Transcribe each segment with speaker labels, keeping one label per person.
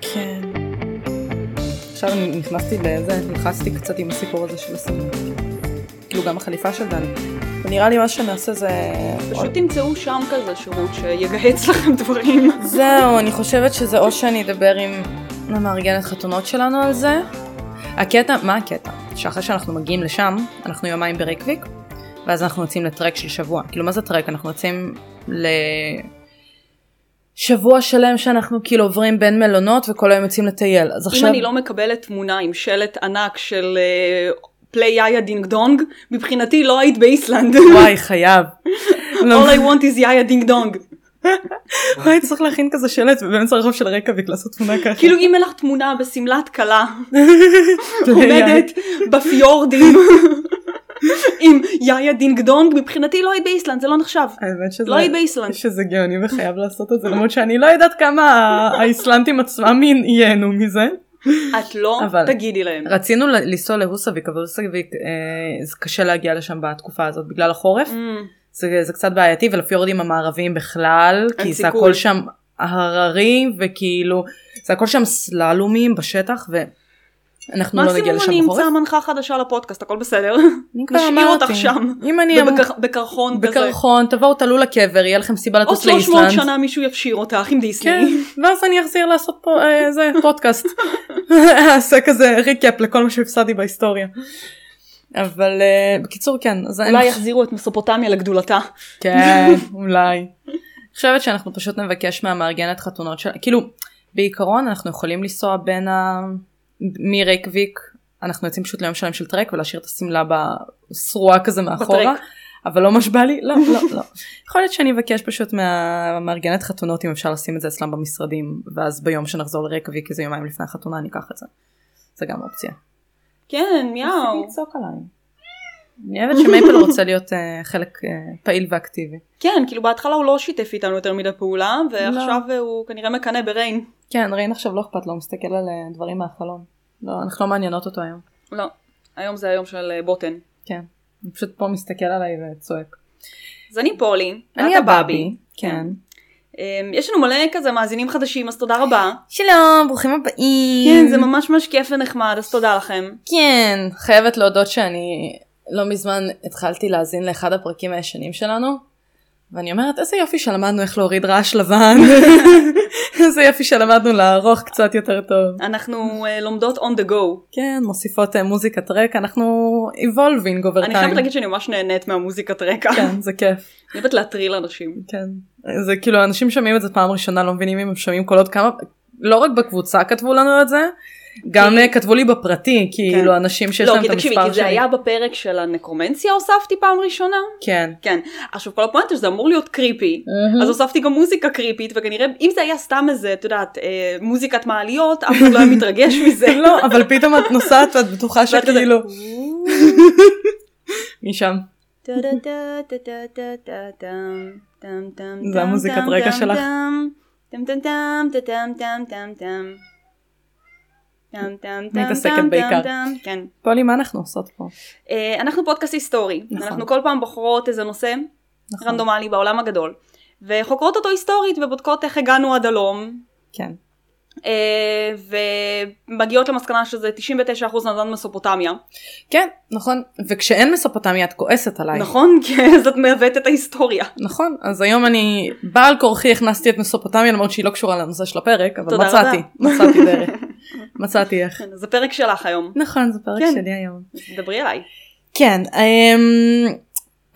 Speaker 1: כן.
Speaker 2: עכשיו נכנסתי לזה, נכנסתי קצת עם הסיפור הזה של הסמים. כאילו גם החליפה של דני. ונראה לי מה שנעשה זה...
Speaker 3: פשוט תמצאו שם כזה שירות שיגהץ לכם דברים.
Speaker 1: זהו, אני חושבת שזה או שאני אדבר עם המארגנת חתונות שלנו על זה. הקטע, מה הקטע? שאחרי שאנחנו מגיעים לשם, אנחנו יומיים בריקוויק, ואז אנחנו יוצאים לטרק של שבוע. כאילו מה זה טרק? אנחנו יוצאים ל... שבוע שלם שאנחנו כאילו עוברים בין מלונות וכל היום יוצאים לטייל. אז
Speaker 3: אם
Speaker 1: עכשיו...
Speaker 3: אני לא מקבלת תמונה עם שלט ענק של אה, פליי יאיה דינג דונג, מבחינתי לא היית באיסלנד.
Speaker 1: וואי, חייב. לא,
Speaker 3: All I want is יאיה דינג דונג.
Speaker 1: וואי, צריך להכין כזה שלט באמצע הרחוב של ריקוויק לעשות תמונה ככה.
Speaker 3: כאילו אם אין לך תמונה בשמלת כלה עומדת בפיורדים עם יאיה דינג דונג, מבחינתי לא היית באיסלנד, זה לא נחשב.
Speaker 1: האמת שזה,
Speaker 3: לא היית באיסלנד.
Speaker 1: שזה גאוני וחייב לעשות את זה למרות שאני לא יודעת כמה ה- האיסלנטים עצמם ייהנו מזה.
Speaker 3: את לא
Speaker 1: אבל-
Speaker 3: תגידי להם.
Speaker 1: רצינו ל- לנסוע להוסוויק אבל הוסוויק אה, זה קשה להגיע לשם בתקופה הזאת בגלל החורף
Speaker 3: Mm.
Speaker 1: זה, זה קצת בעייתי ולפיורדים המערביים בכלל כי זה
Speaker 3: סיכוי.
Speaker 1: הכל שם הררי וכאילו זה הכל שם סללומים בשטח ואנחנו לא נגיע
Speaker 3: מקסימום
Speaker 1: לשם
Speaker 3: אני
Speaker 1: בחורף.
Speaker 3: אמצא מנחה חדשה לפודקאסט, הכל בסדר.
Speaker 1: אני כבר
Speaker 3: נשאיר
Speaker 1: אמרתי,
Speaker 3: אותך שם.
Speaker 1: אם אני אמור-
Speaker 3: ובקר- בקרחון כזה.
Speaker 1: בקרחון תבואו תעלו לקבר יהיה לכם סיבה
Speaker 3: עוד
Speaker 1: לטוס
Speaker 3: 300
Speaker 1: לאיסלנד.
Speaker 3: שנה מישהו יפשיר אותך עם
Speaker 1: כן,
Speaker 3: דיסני.
Speaker 1: ואז אני אחזיר לעשות פה אה, זה פודקאסט. אעשה כזה ריקאפ לכל מה שהפסדתי בהיסטוריה. אבל אה, בקיצור כן, אז אני-
Speaker 3: אולי יחזירו את מסופוטמיה לגדולתה.
Speaker 1: כן, אולי. אני חושבת שאנחנו פשוט נבקש מהמארגנת חתונות שלה, כאילו בעיקרון אנחנו יכולים לנסוע בין ה... מריקוויק, אנחנו יוצאים פשוט ליום שלם של טרק ולהשאיר את השמלה בשרועה כזה מאחורה.
Speaker 3: בטרק.
Speaker 1: אבל לא משבע לי, לא, לא, לא. יכול להיות שאני אבקש פשוט מהמארגנת חתונות אם אפשר לשים את זה אצלם במשרדים, ואז ביום שנחזור לריקווי, כי זה יומיים לפני החתונה, אני אקח את זה. זה גם אופציה.
Speaker 3: כן,
Speaker 1: תפסיקי
Speaker 3: מיאו.
Speaker 1: לצעוק עליי. אני אוהבת שמייפל רוצה להיות אה, חלק אה, פעיל ואקטיבי.
Speaker 3: כן, כאילו בהתחלה הוא לא שיתף איתנו יותר מדי פעולה,
Speaker 1: לא.
Speaker 3: ועכשיו הוא כנראה מקנא בריין.
Speaker 1: כן, ריין עכשיו לא אכפת לו, הוא מסתכל על אה, דברים מהחלום. לא, אנחנו לא מעניינות אותו היום.
Speaker 3: לא, היום זה היום של אה, בוטן.
Speaker 1: כן. הוא פשוט פה מסתכל עליי וצועק.
Speaker 3: אז אני פולי.
Speaker 1: אני
Speaker 3: את
Speaker 1: הבאבי. כן.
Speaker 3: אמ, יש לנו מלא כזה מאזינים חדשים, אז תודה רבה.
Speaker 1: שלום, ברוכים הבאים.
Speaker 3: כן, זה ממש ממש כיף ונחמד, אז תודה לכם.
Speaker 1: כן, חייבת להודות שאני לא מזמן התחלתי להאזין לאחד הפרקים הישנים שלנו, ואני אומרת, איזה יופי שלמדנו איך להוריד רעש לבן, איזה יופי שלמדנו לערוך קצת יותר טוב.
Speaker 3: אנחנו אה, לומדות on the go.
Speaker 1: כן, מוסיפות אה, מוזיקת רקע, אנחנו evolving over time.
Speaker 3: אני חייבת להגיד שאני ממש נהנית מהמוזיקת רקע. אני
Speaker 1: כן, זה כיף,
Speaker 3: אוהבת להטריל אנשים.
Speaker 1: כן. זה כאילו, אנשים שומעים את זה פעם ראשונה, לא מבינים אם הם שומעים קולות כמה, לא רק בקבוצה כתבו לנו את זה, גם אה, כתבו לי בפרטי, כאילו, אנשים שיש
Speaker 3: לא,
Speaker 1: להם
Speaker 3: כי
Speaker 1: את
Speaker 3: תקשיבי,
Speaker 1: המספר
Speaker 3: כי זה
Speaker 1: שלי.
Speaker 3: היה בפרק של הנקרומנציה הוספתי פעם ראשונה.
Speaker 1: כן.
Speaker 3: כן. עכשיו כל הפואנטה שזה אמור להיות קריפי.
Speaker 1: Mm-hmm.
Speaker 3: אז הוספתי גם מוזיקה קריפית, וכנראה אם זה היה סתם איזה, את יודעת, אה, מוזיקת מעליות, אף אחד לא היה מתרגש מזה.
Speaker 1: לא, כאילו. אבל פתאום את נוסעת ואת בטוחה
Speaker 3: ואת כזה,
Speaker 1: שכאילו... משם.
Speaker 3: זה
Speaker 1: זה המוזיקת רקע שלך. מתעסקת בעיקר.
Speaker 3: כן.
Speaker 1: פולי, מה אנחנו עושות פה?
Speaker 3: אה, אנחנו פודקאסט היסטורי.
Speaker 1: נכון.
Speaker 3: אנחנו כל פעם בוחרות איזה נושא
Speaker 1: נכון.
Speaker 3: רנדומלי בעולם הגדול. וחוקרות אותו היסטורית ובודקות איך הגענו עד הלום.
Speaker 1: כן.
Speaker 3: אה, ומגיעות למסקנה שזה 99% נדן מסופוטמיה.
Speaker 1: כן, נכון. וכשאין מסופוטמיה את כועסת עליי.
Speaker 3: נכון? כי זאת מעוות את ההיסטוריה.
Speaker 1: נכון, אז היום אני בעל כורחי הכנסתי את מסופוטמיה למרות שהיא לא קשורה לנושא של הפרק, אבל
Speaker 3: תודה
Speaker 1: מצאתי,
Speaker 3: רבה.
Speaker 1: מצאתי דרך, מצאתי איך.
Speaker 3: כן, זה פרק שלך היום.
Speaker 1: נכון, זה פרק
Speaker 3: כן.
Speaker 1: שלי היום.
Speaker 3: אז דברי אליי.
Speaker 1: כן, אמ,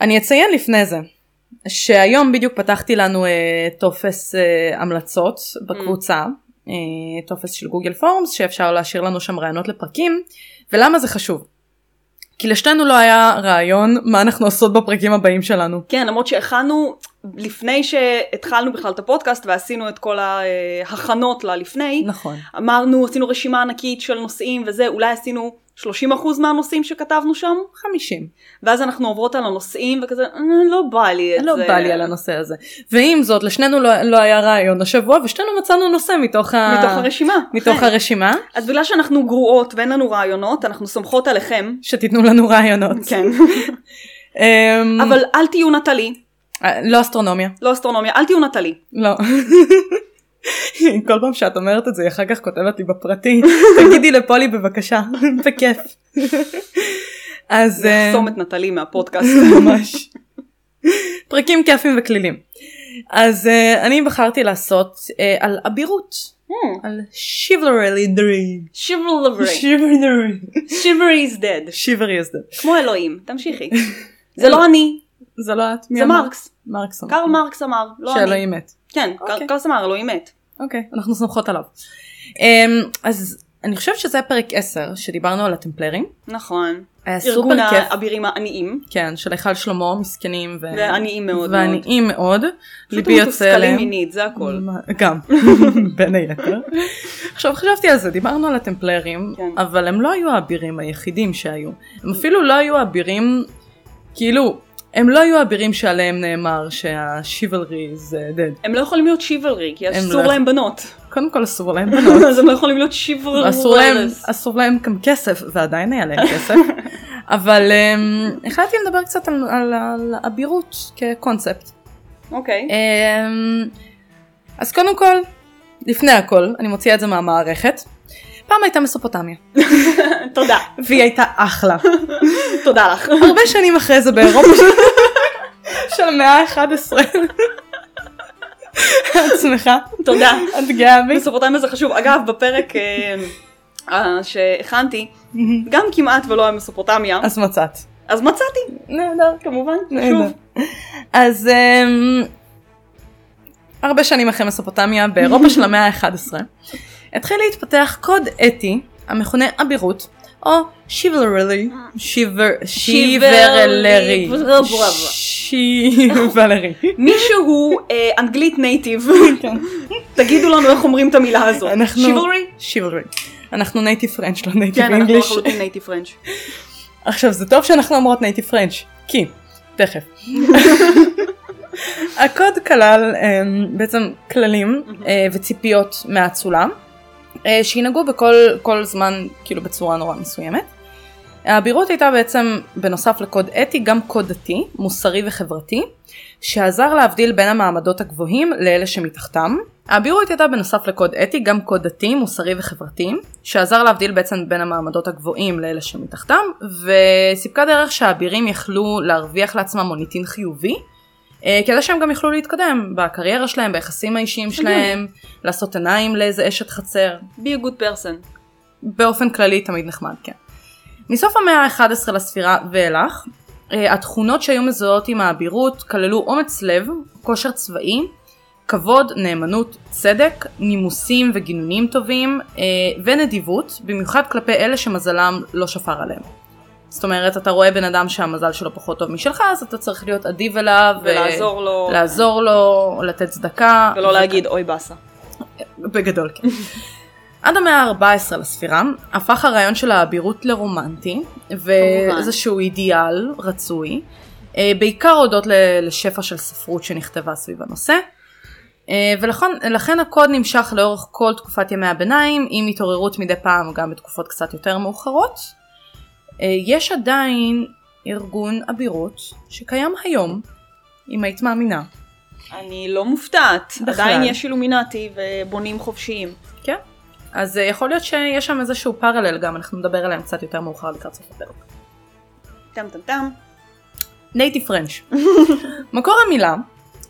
Speaker 1: אני אציין לפני זה, שהיום בדיוק פתחתי לנו אה, טופס אה, המלצות בקבוצה,
Speaker 3: Mm.
Speaker 1: אה, טופס של גוגל פורמס, שאפשר להשאיר לנו שם רעיונות לפרקים, ולמה זה חשוב? כי לשתינו לא היה רעיון מה אנחנו עושות בפרקים הבאים שלנו.
Speaker 3: כן, למרות שהכנו, לפני שהתחלנו בכלל את הפודקאסט ועשינו את כל ההכנות לה לפני,
Speaker 1: נכון.
Speaker 3: אמרנו, עשינו רשימה ענקית של נושאים וזה, אולי עשינו 30% מהנושאים שכתבנו שם,
Speaker 1: 50.
Speaker 3: ואז אנחנו עוברות על הנושאים וכזה, "אה, לא בא לי את
Speaker 1: לא
Speaker 3: זה.
Speaker 1: בא לי על הנושא הזה. ועם זאת, לשנינו לא, לא היה רעיון השבוע, ושתינו מצאנו נושא מתוך, ה...
Speaker 3: מתוך הרשימה.
Speaker 1: מתוך
Speaker 3: אכן.
Speaker 1: הרשימה,
Speaker 3: אז בגלל שאנחנו גרועות ואין לנו רעיונות, אנחנו סומכות עליכם.
Speaker 1: שתיתנו לנו רעיונות.
Speaker 3: כן.
Speaker 1: אמ,
Speaker 3: אבל אל תהיו נטלי,
Speaker 1: אה, לא אסטרונומיה.
Speaker 3: לא אסטרונומיה, אל תהיו נטלי.
Speaker 1: לא. כל פעם שאת אומרת את זה היא אחר כך כותבת לי בפרטי תגידי לפולי בבקשה בכיף. אז אה,
Speaker 3: נחסום את נטלי מהפודקאסט.
Speaker 1: ממש. פרקים כיפים וכלילים. אז אה, אני בחרתי לעשות אה, על אבירות,
Speaker 3: Hmm.
Speaker 1: על שיברלי דרים.
Speaker 3: שיברי.
Speaker 1: שיברלי.
Speaker 3: שיברי is dead.
Speaker 1: שיברי אז זה.
Speaker 3: כמו אלוהים. תמשיכי. זה לא אני,
Speaker 1: זה לא את? מי
Speaker 3: זה
Speaker 1: אמר?
Speaker 3: מרקס.
Speaker 1: מרקס. אמר.
Speaker 3: קרל מרקס אמר, לא אני.
Speaker 1: שאלוהים מת.
Speaker 3: כן,
Speaker 1: אוקיי.
Speaker 3: קר- קרלס אמר, אלוהים מת.
Speaker 1: אוקיי, אנחנו סומכות עליו. אמ, אז אני חושבת שזה היה פרק 10 שדיברנו על הטמפלרים.
Speaker 3: נכון.
Speaker 1: היה סופר
Speaker 3: ארגון
Speaker 1: כיף.
Speaker 3: האבירים העניים.
Speaker 1: כן, של היכל שלמה, מסכנים ו...
Speaker 3: ועניים מאוד מאוד.
Speaker 1: ועניים מאוד.
Speaker 3: פשוט
Speaker 1: ליבי יוצא
Speaker 3: מתוסכלים
Speaker 1: אליהם.
Speaker 3: מינית, זה הכל.
Speaker 1: מה- גם, בין היתר. עכשיו חשבתי על זה, דיברנו על הטמפלרים,
Speaker 3: כן.
Speaker 1: אבל הם לא היו האבירים היחידים שהיו. הם אפילו לא היו האבירים, כאילו, הם לא היו האבירים שעליהם נאמר שהשיבלרי זה dead.
Speaker 3: הם לא יכולים להיות שיבלרי, כי
Speaker 1: Mm. הם
Speaker 3: אסור
Speaker 1: לא-
Speaker 3: להם בנות.
Speaker 1: קודם כל אסור להם בנות.
Speaker 3: אז הם לא יכולים להיות שיבלרי.
Speaker 1: אסור להם, אסור להם גם כסף, ועדיין היה להם כסף, אבל um, החלטתי לדבר קצת על, על, על אבירות כקונספט.
Speaker 3: אוקיי.
Speaker 1: Um, אז קודם כל, לפני הכל, אני מוציאה את זה מהמערכת, פעם הייתה מסופוטמיה,
Speaker 3: תודה.
Speaker 1: והיא הייתה אחלה.
Speaker 3: תודה לך.
Speaker 1: הרבה שנים אחרי זה באירופה של המאה ה-11. את שמחה?
Speaker 3: תודה.
Speaker 1: את גאה בי?
Speaker 3: מסופוטמיה זה חשוב. אגב, בפרק אה, אה, שהכנתי, גם כמעט ולא על מסופוטמיה,
Speaker 1: אז מצאת.
Speaker 3: אז מצאתי,
Speaker 1: נהדר.
Speaker 3: כמובן,
Speaker 1: נהדר.
Speaker 3: שוב.
Speaker 1: אז אמ, הרבה שנים אחרי מסופוטמיה באירופה של המאה ה-11 התחיל להתפתח קוד אתי המכונה אבירות או שיברלי שיבר שיברלרי שיברלרי
Speaker 3: מישהו אה, אנגלית נייטיב, כן. תגידו לנו איך אומרים את המילה הזאת.
Speaker 1: אנחנו-
Speaker 3: שיבלרי?
Speaker 1: שיברלרי אנחנו נייטיב פרנץ' לא נייטיב
Speaker 3: כן, אנחנו
Speaker 1: אינגליש
Speaker 3: לחלוטין נייטיב פרנץ'.
Speaker 1: עכשיו זה טוב שאנחנו אומרות נייטיב פרנץ' כי תכף. הקוד כלל אה, בעצם כללים אה, וציפיות מהאצולה אה, שינהגו בכל כל זמן כאילו בצורה נורא מסוימת. האבירות הייתה בעצם בנוסף לקוד אתי גם קוד דתי מוסרי וחברתי שעזר להבדיל בין המעמדות הגבוהים לאלה שמתחתם. האבירות הייתה בנוסף לקוד אתי גם קוד דתי, מוסרי וחברתי, שעזר להבדיל בעצם בין המעמדות הגבוהים לאלה שמתחתם, וסיפקה דרך שהאבירים יכלו להרוויח לעצמם מוניטין חיובי, אה, כדי שהם גם יכלו להתקדם בקריירה שלהם, ביחסים האישיים שלהם, לעשות עיניים לאיזה אשת חצר,
Speaker 3: be a good person.
Speaker 1: באופן כללי תמיד נחמד, כן. מסוף המאה ה-11 לספירה ואילך, אה, התכונות שהיו מזוהות עם האבירות כללו אומץ לב, כושר צבאי, כבוד, נאמנות, צדק, נימוסים וגינונים טובים אה, ונדיבות, במיוחד כלפי אלה שמזלם לא שפר עליהם. זאת אומרת, אתה רואה בן אדם שהמזל שלו פחות טוב משלך, אז אתה צריך להיות אדיב אליו, אה,
Speaker 3: ולעזור לו.
Speaker 1: לעזור לו, לתת צדקה.
Speaker 3: ולא להגיד אוי באסה.
Speaker 1: בגדול כן. עד המאה ה-14 לספירה הפך הרעיון של האבירות לרומנטי ואיזשהו אידיאל רצוי אה, בעיקר הודות ל- לשפע של ספרות שנכתבה סביב הנושא אה, ולכן לכן הקוד נמשך לאורך כל תקופת ימי הביניים עם התעוררות מדי פעם גם בתקופות קצת יותר מאוחרות. אה, יש עדיין ארגון אבירות שקיים היום אם היית מאמינה
Speaker 3: אני לא מופתעת,
Speaker 1: בכלל.
Speaker 3: עדיין יש אילומינטי ובונים חופשיים.
Speaker 1: כן. אז אה, יכול להיות שיש שם איזשהו פרלל גם, אנחנו נדבר עליהם קצת יותר מאוחר לקראת סוף הפרק.
Speaker 3: טם טם טם,
Speaker 1: נייטיב פרנץ'. מקור המילה,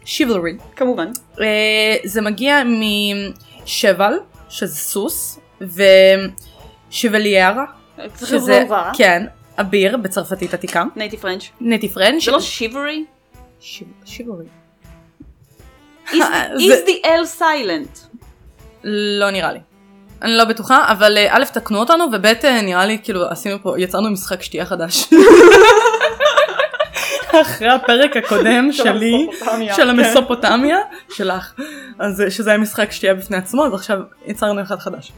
Speaker 1: שיבלרי,
Speaker 3: כמובן.
Speaker 1: אה, זה מגיע משבל, שזה סוס, ושבליארה, שזה, כן, אביר בצרפתית עתיקה.
Speaker 3: נייטי פרנץ'.
Speaker 1: נייטיב פרנץ'.
Speaker 3: זה לא שיברי?
Speaker 1: שיב- שיבלרי. זה-
Speaker 3: is the L silent?
Speaker 1: לא נראה לי. אני לא בטוחה, אבל אה, א', תקנו אותנו, וב', אה, נראה לי כאילו עשינו פה, יצרנו משחק שתייה חדש. אחרי הפרק הקודם שלי, של המסופוטמיה, כן. שלך, אז אה, שזה היה משחק שתייה בפני עצמו, אז עכשיו יצרנו אחד חדש.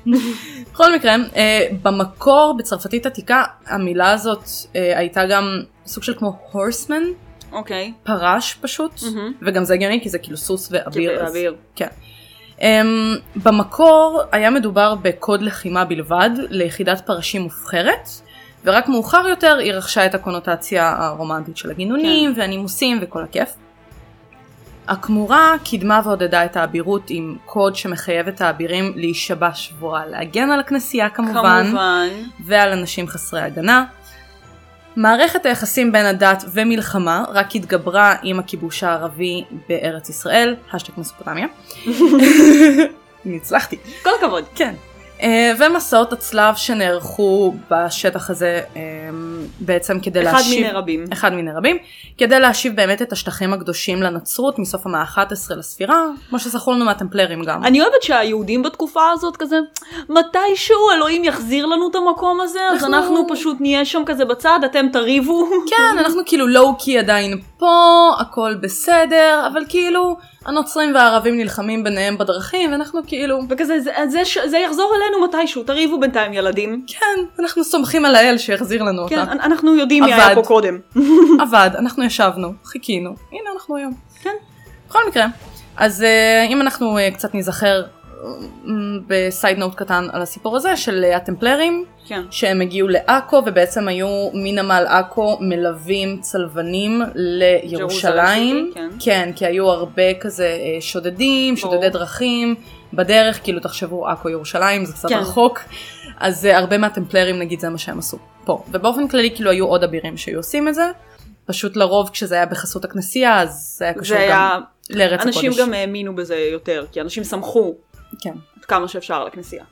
Speaker 1: בכל מקרה, אה, במקור בצרפתית עתיקה, המילה הזאת אה, הייתה גם סוג של כמו הורסמן,
Speaker 3: אוקיי.
Speaker 1: פרש פשוט,
Speaker 3: מהמם.
Speaker 1: וגם זה הגיוני כי זה כאילו סוס ואביר. אז-
Speaker 3: אביר.
Speaker 1: Um, במקור היה מדובר בקוד לחימה בלבד ליחידת פרשים מובחרת ורק מאוחר יותר היא רכשה את הקונוטציה הרומנטית של הגינונים והנימוסים וכל הכיף. הכמורה קידמה ועודדה את האבירות עם קוד שמחייב את האבירים להישבע שבועה, להגן על הכנסייה כמובן,
Speaker 3: כמובן.
Speaker 1: ועל אנשים חסרי הגנה. מערכת היחסים בין הדת ומלחמה רק התגברה עם הכיבוש הערבי בארץ ישראל, השטג מסופוטמיה. אני הצלחתי.
Speaker 3: כל הכבוד.
Speaker 1: כן. אה, ומסעות הצלב שנערכו בשטח הזה אה, בעצם כדי
Speaker 3: אחד
Speaker 1: להשיב...
Speaker 3: מיני רבים.
Speaker 1: אחד מיני רבים, כדי להשיב באמת את השטחים הקדושים לנצרות מסוף המאה ה-11 לספירה, כמו שזכור לנו מהטמפלרים גם.
Speaker 3: אני אוהבת שהיהודים בתקופה הזאת כזה, מתישהו אלוהים יחזיר לנו את המקום הזה, אז
Speaker 1: אנחנו-
Speaker 3: אנחנו פשוט נהיה שם כזה בצד, אתם תריבו.
Speaker 1: כן, אנחנו כאילו לואו-קי עדיין פה, הכל בסדר, אבל כאילו הנוצרים והערבים נלחמים ביניהם בדרכים, ואנחנו כאילו,
Speaker 3: וכזה, זה, זה, ש- זה יחזור אלינו מתישהו, תריבו בינתיים ילדים.
Speaker 1: כן, אנחנו סומכים על האל שיחזיר לנו אותה.
Speaker 3: כן, אנ- אנחנו יודעים מי היה
Speaker 1: עבד.
Speaker 3: פה קודם.
Speaker 1: עבד, אנחנו ישבנו, חיכינו, הנה אנחנו היום.
Speaker 3: כן.
Speaker 1: בכל מקרה, אז אה, אם אנחנו אה, קצת נזכר בסייד נוט קטן על הסיפור הזה של אה, הטמפלרים,
Speaker 3: כן.
Speaker 1: שהם הגיעו לעכו ובעצם היו מנמל עכו מלווים צלבנים לירושלים.
Speaker 3: כן.
Speaker 1: כן, כי היו הרבה כזה אה, שודדים,
Speaker 3: ברור.
Speaker 1: שודדי דרכים, בדרך, כאילו תחשבו עכו ירושלים, זה קצת
Speaker 3: כן.
Speaker 1: רחוק, אז אה, הרבה מהטמפלרים נגיד זה מה שהם עשו פה. ובאופן כללי כאילו היו עוד אבירים שהיו עושים את זה, פשוט לרוב כשזה היה בחסות הכנסייה אז זה היה קשור
Speaker 3: זה
Speaker 1: גם
Speaker 3: היה,
Speaker 1: לארץ הקודש.
Speaker 3: אנשים גם האמינו בזה יותר, כי אנשים שמחו
Speaker 1: כן.
Speaker 3: עד כמה שאפשר על הכנסייה.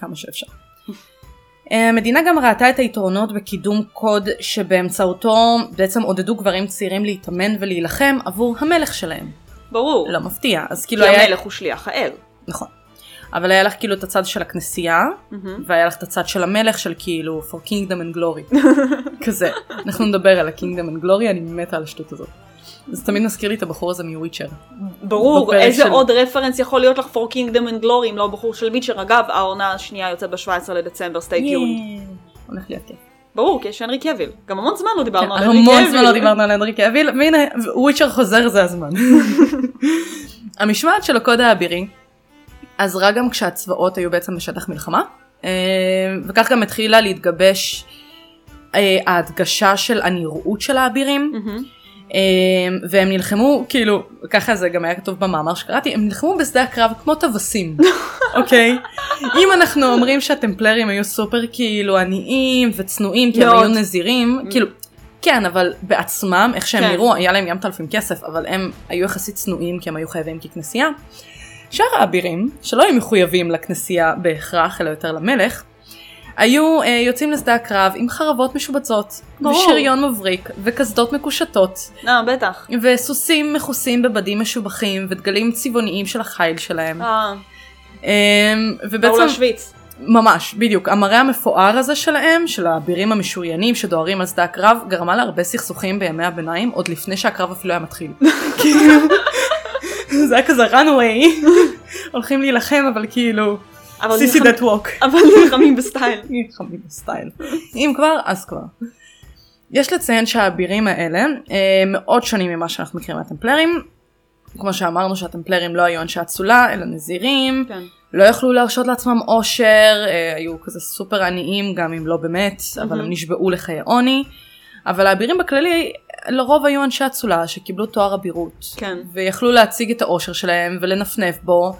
Speaker 1: כמה שאפשר. המדינה גם ראתה את היתרונות בקידום קוד שבאמצעותו בעצם עודדו גברים צעירים להתאמן ולהילחם עבור המלך שלהם.
Speaker 3: ברור.
Speaker 1: לא מפתיע, אז
Speaker 3: כי
Speaker 1: כאילו היה...
Speaker 3: המלך הוא שליח האל.
Speaker 1: נכון. אבל היה לך כאילו את הצד של הכנסייה,
Speaker 3: מהמם.
Speaker 1: והיה לך את הצד של המלך של כאילו for kingdom and glory. כזה. אנחנו נדבר על ה-kingdom and glory, אני מתה על השטות הזאת. זה תמיד מזכיר לי את הבחור הזה מוויצ'ר.
Speaker 3: ברור,
Speaker 1: בפרק
Speaker 3: איזה
Speaker 1: של-
Speaker 3: עוד רפרנס יכול להיות לך for kingdom and glory אם לא הבחור של ביצ'ר. אגב, העונה השנייה יוצאת ב-17 לדצמבר, סטייט יונד.
Speaker 1: הולך להיות כיף.
Speaker 3: ברור, כי יש הנרי קוויל. גם המון זמן לא דיברנו על הנרי קוויל.
Speaker 1: המון זמן לא דיברנו על הנרי קוויל, והנה וויצ'ר חוזר זה הזמן. המשמעת של הקוד האבירי עזרה גם כשהצבאות היו בעצם בשטח מלחמה, אה, וכך גם התחילה להתגבש אה, ההדגשה של הנראות של האבירים,
Speaker 3: מהמם.
Speaker 1: אה, והם נלחמו, כאילו, ככה זה גם היה כתוב במאמר שקראתי, הם נלחמו בשדה הקרב כמו טווסים, אוקיי? אם אנחנו אומרים שהטמפלרים היו סופר כאילו עניים וצנועים, כי הם
Speaker 3: מאוד. Mm.
Speaker 1: היו נזירים, כאילו, כן, אבל בעצמם, איך שהם
Speaker 3: כן.
Speaker 1: נראו, היה להם ים תלפים כסף, אבל הם היו יחסית צנועים כי הם היו חייבים ככנסייה. שאר האבירים, שלא היו מחויבים לכנסייה בהכרח, אלא יותר למלך, היו אה, יוצאים לשדה הקרב עם חרבות משובצות,
Speaker 3: ברור.
Speaker 1: ושריון מבריק, וקסדות מקושטות,
Speaker 3: אה, בטח.
Speaker 1: וסוסים מכוסים בבדים משובחים ודגלים צבעוניים של החיל שלהם.
Speaker 3: אה,
Speaker 1: אמ,
Speaker 3: באו
Speaker 1: ובעצם,
Speaker 3: לאושוויץ.
Speaker 1: ממש, בדיוק, המראה המפואר הזה שלהם, של האבירים המשוריינים שדוהרים על שדה הקרב, גרמה להרבה סכסוכים בימי הביניים, עוד לפני שהקרב אפילו היה מתחיל. כאילו, זה היה כזה runway, הולכים להילחם, אבל כאילו,
Speaker 3: אבל
Speaker 1: סיסי
Speaker 3: נלחמים-
Speaker 1: that walk.
Speaker 3: אבל נלחמים בסטייל.
Speaker 1: נלחמים בסטייל. אם כבר, אז כבר. יש לציין שהאבירים האלה אה, מאוד שונים ממה שאנחנו מכירים מהטמפלרים. כמו שאמרנו שהטמפלרים לא היו אנשי אצולה, אלא נזירים,
Speaker 3: כן.
Speaker 1: לא יכלו להרשות לעצמם עושר, אה, היו כזה סופר עניים גם אם לא באמת, אבל הם
Speaker 3: מהמם.
Speaker 1: נשבעו לחיי עוני. אבל האבירים בכללי לרוב היו אנשי אצולה שקיבלו תואר אבירות,
Speaker 3: כן.
Speaker 1: ויכלו להציג את העושר שלהם ולנפנף בו,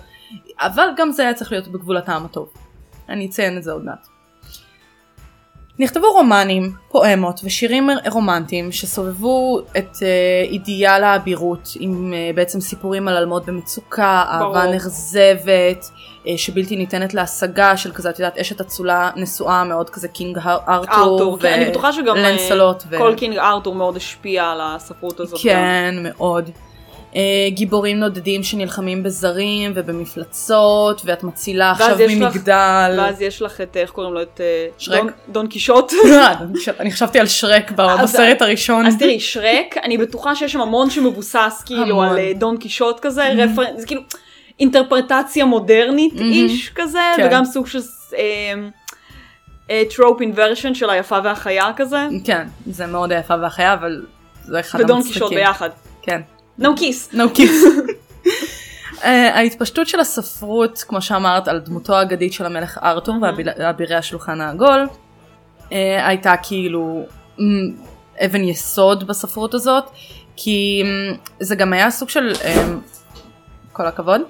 Speaker 1: אבל גם זה היה צריך להיות בגבול הטעם הטוב. אני אציין את זה עוד מעט. נכתבו רומנים, פואמות ושירים רומנטיים שסובבו את אה, אידיאל האבירות עם אה, בעצם סיפורים על אלמות במצוקה,
Speaker 3: ברור.
Speaker 1: אהבה נכזבת, אה, שבלתי ניתנת להשגה של כזה, את יודעת, אשת אצולה נשואה מאוד כזה קינג ארתור,
Speaker 3: ארתור. כן, אני בטוחה שגם... אה,
Speaker 1: לנסלות. ו-
Speaker 3: כל קינג ארתור מאוד השפיע על הספרות הזאת. גם.
Speaker 1: כן, מאוד. Uh, גיבורים נודדים שנלחמים בזרים ובמפלצות, ואת מצילה
Speaker 3: ואז
Speaker 1: עכשיו
Speaker 3: יש לך-
Speaker 1: ממגדל.
Speaker 3: ואז יש לך את, איך קוראים לו? את אה,
Speaker 1: שרק.
Speaker 3: דון- דון קישוט.
Speaker 1: אני חשבתי על שרק ב-
Speaker 3: אז-
Speaker 1: בסרט הראשון.
Speaker 3: אז תראי, שרק, אני בטוחה שיש שם המון שמבוסס כאילו
Speaker 1: המון. Mm-hmm.
Speaker 3: על אה, דון קישוט כזה, רפרנס, זה כאילו אינטרפרטציה מודרנית
Speaker 1: Mhm.
Speaker 3: איש כזה,
Speaker 1: כן.
Speaker 3: וגם סוג של אמ, טרופ אינברשן של היפה והחיה כזה,
Speaker 1: כן, זה מאוד היפה והחיה, אבל זה אחד המצחיקים.
Speaker 3: ודון קישוט ביחד.
Speaker 1: כן.
Speaker 3: נו כיס.
Speaker 1: No kiss. כן. אה, ההתפשטות של הספרות, כמו שאמרת, על דמותו האגדית של המלך ארתור
Speaker 3: Mhm.
Speaker 1: ואביל- ואבירי השולחן העגול, אה, הייתה כאילו מ, אבן יסוד בספרות הזאת, כי אמ, זה גם היה סוג של, אמ, כל הכבוד,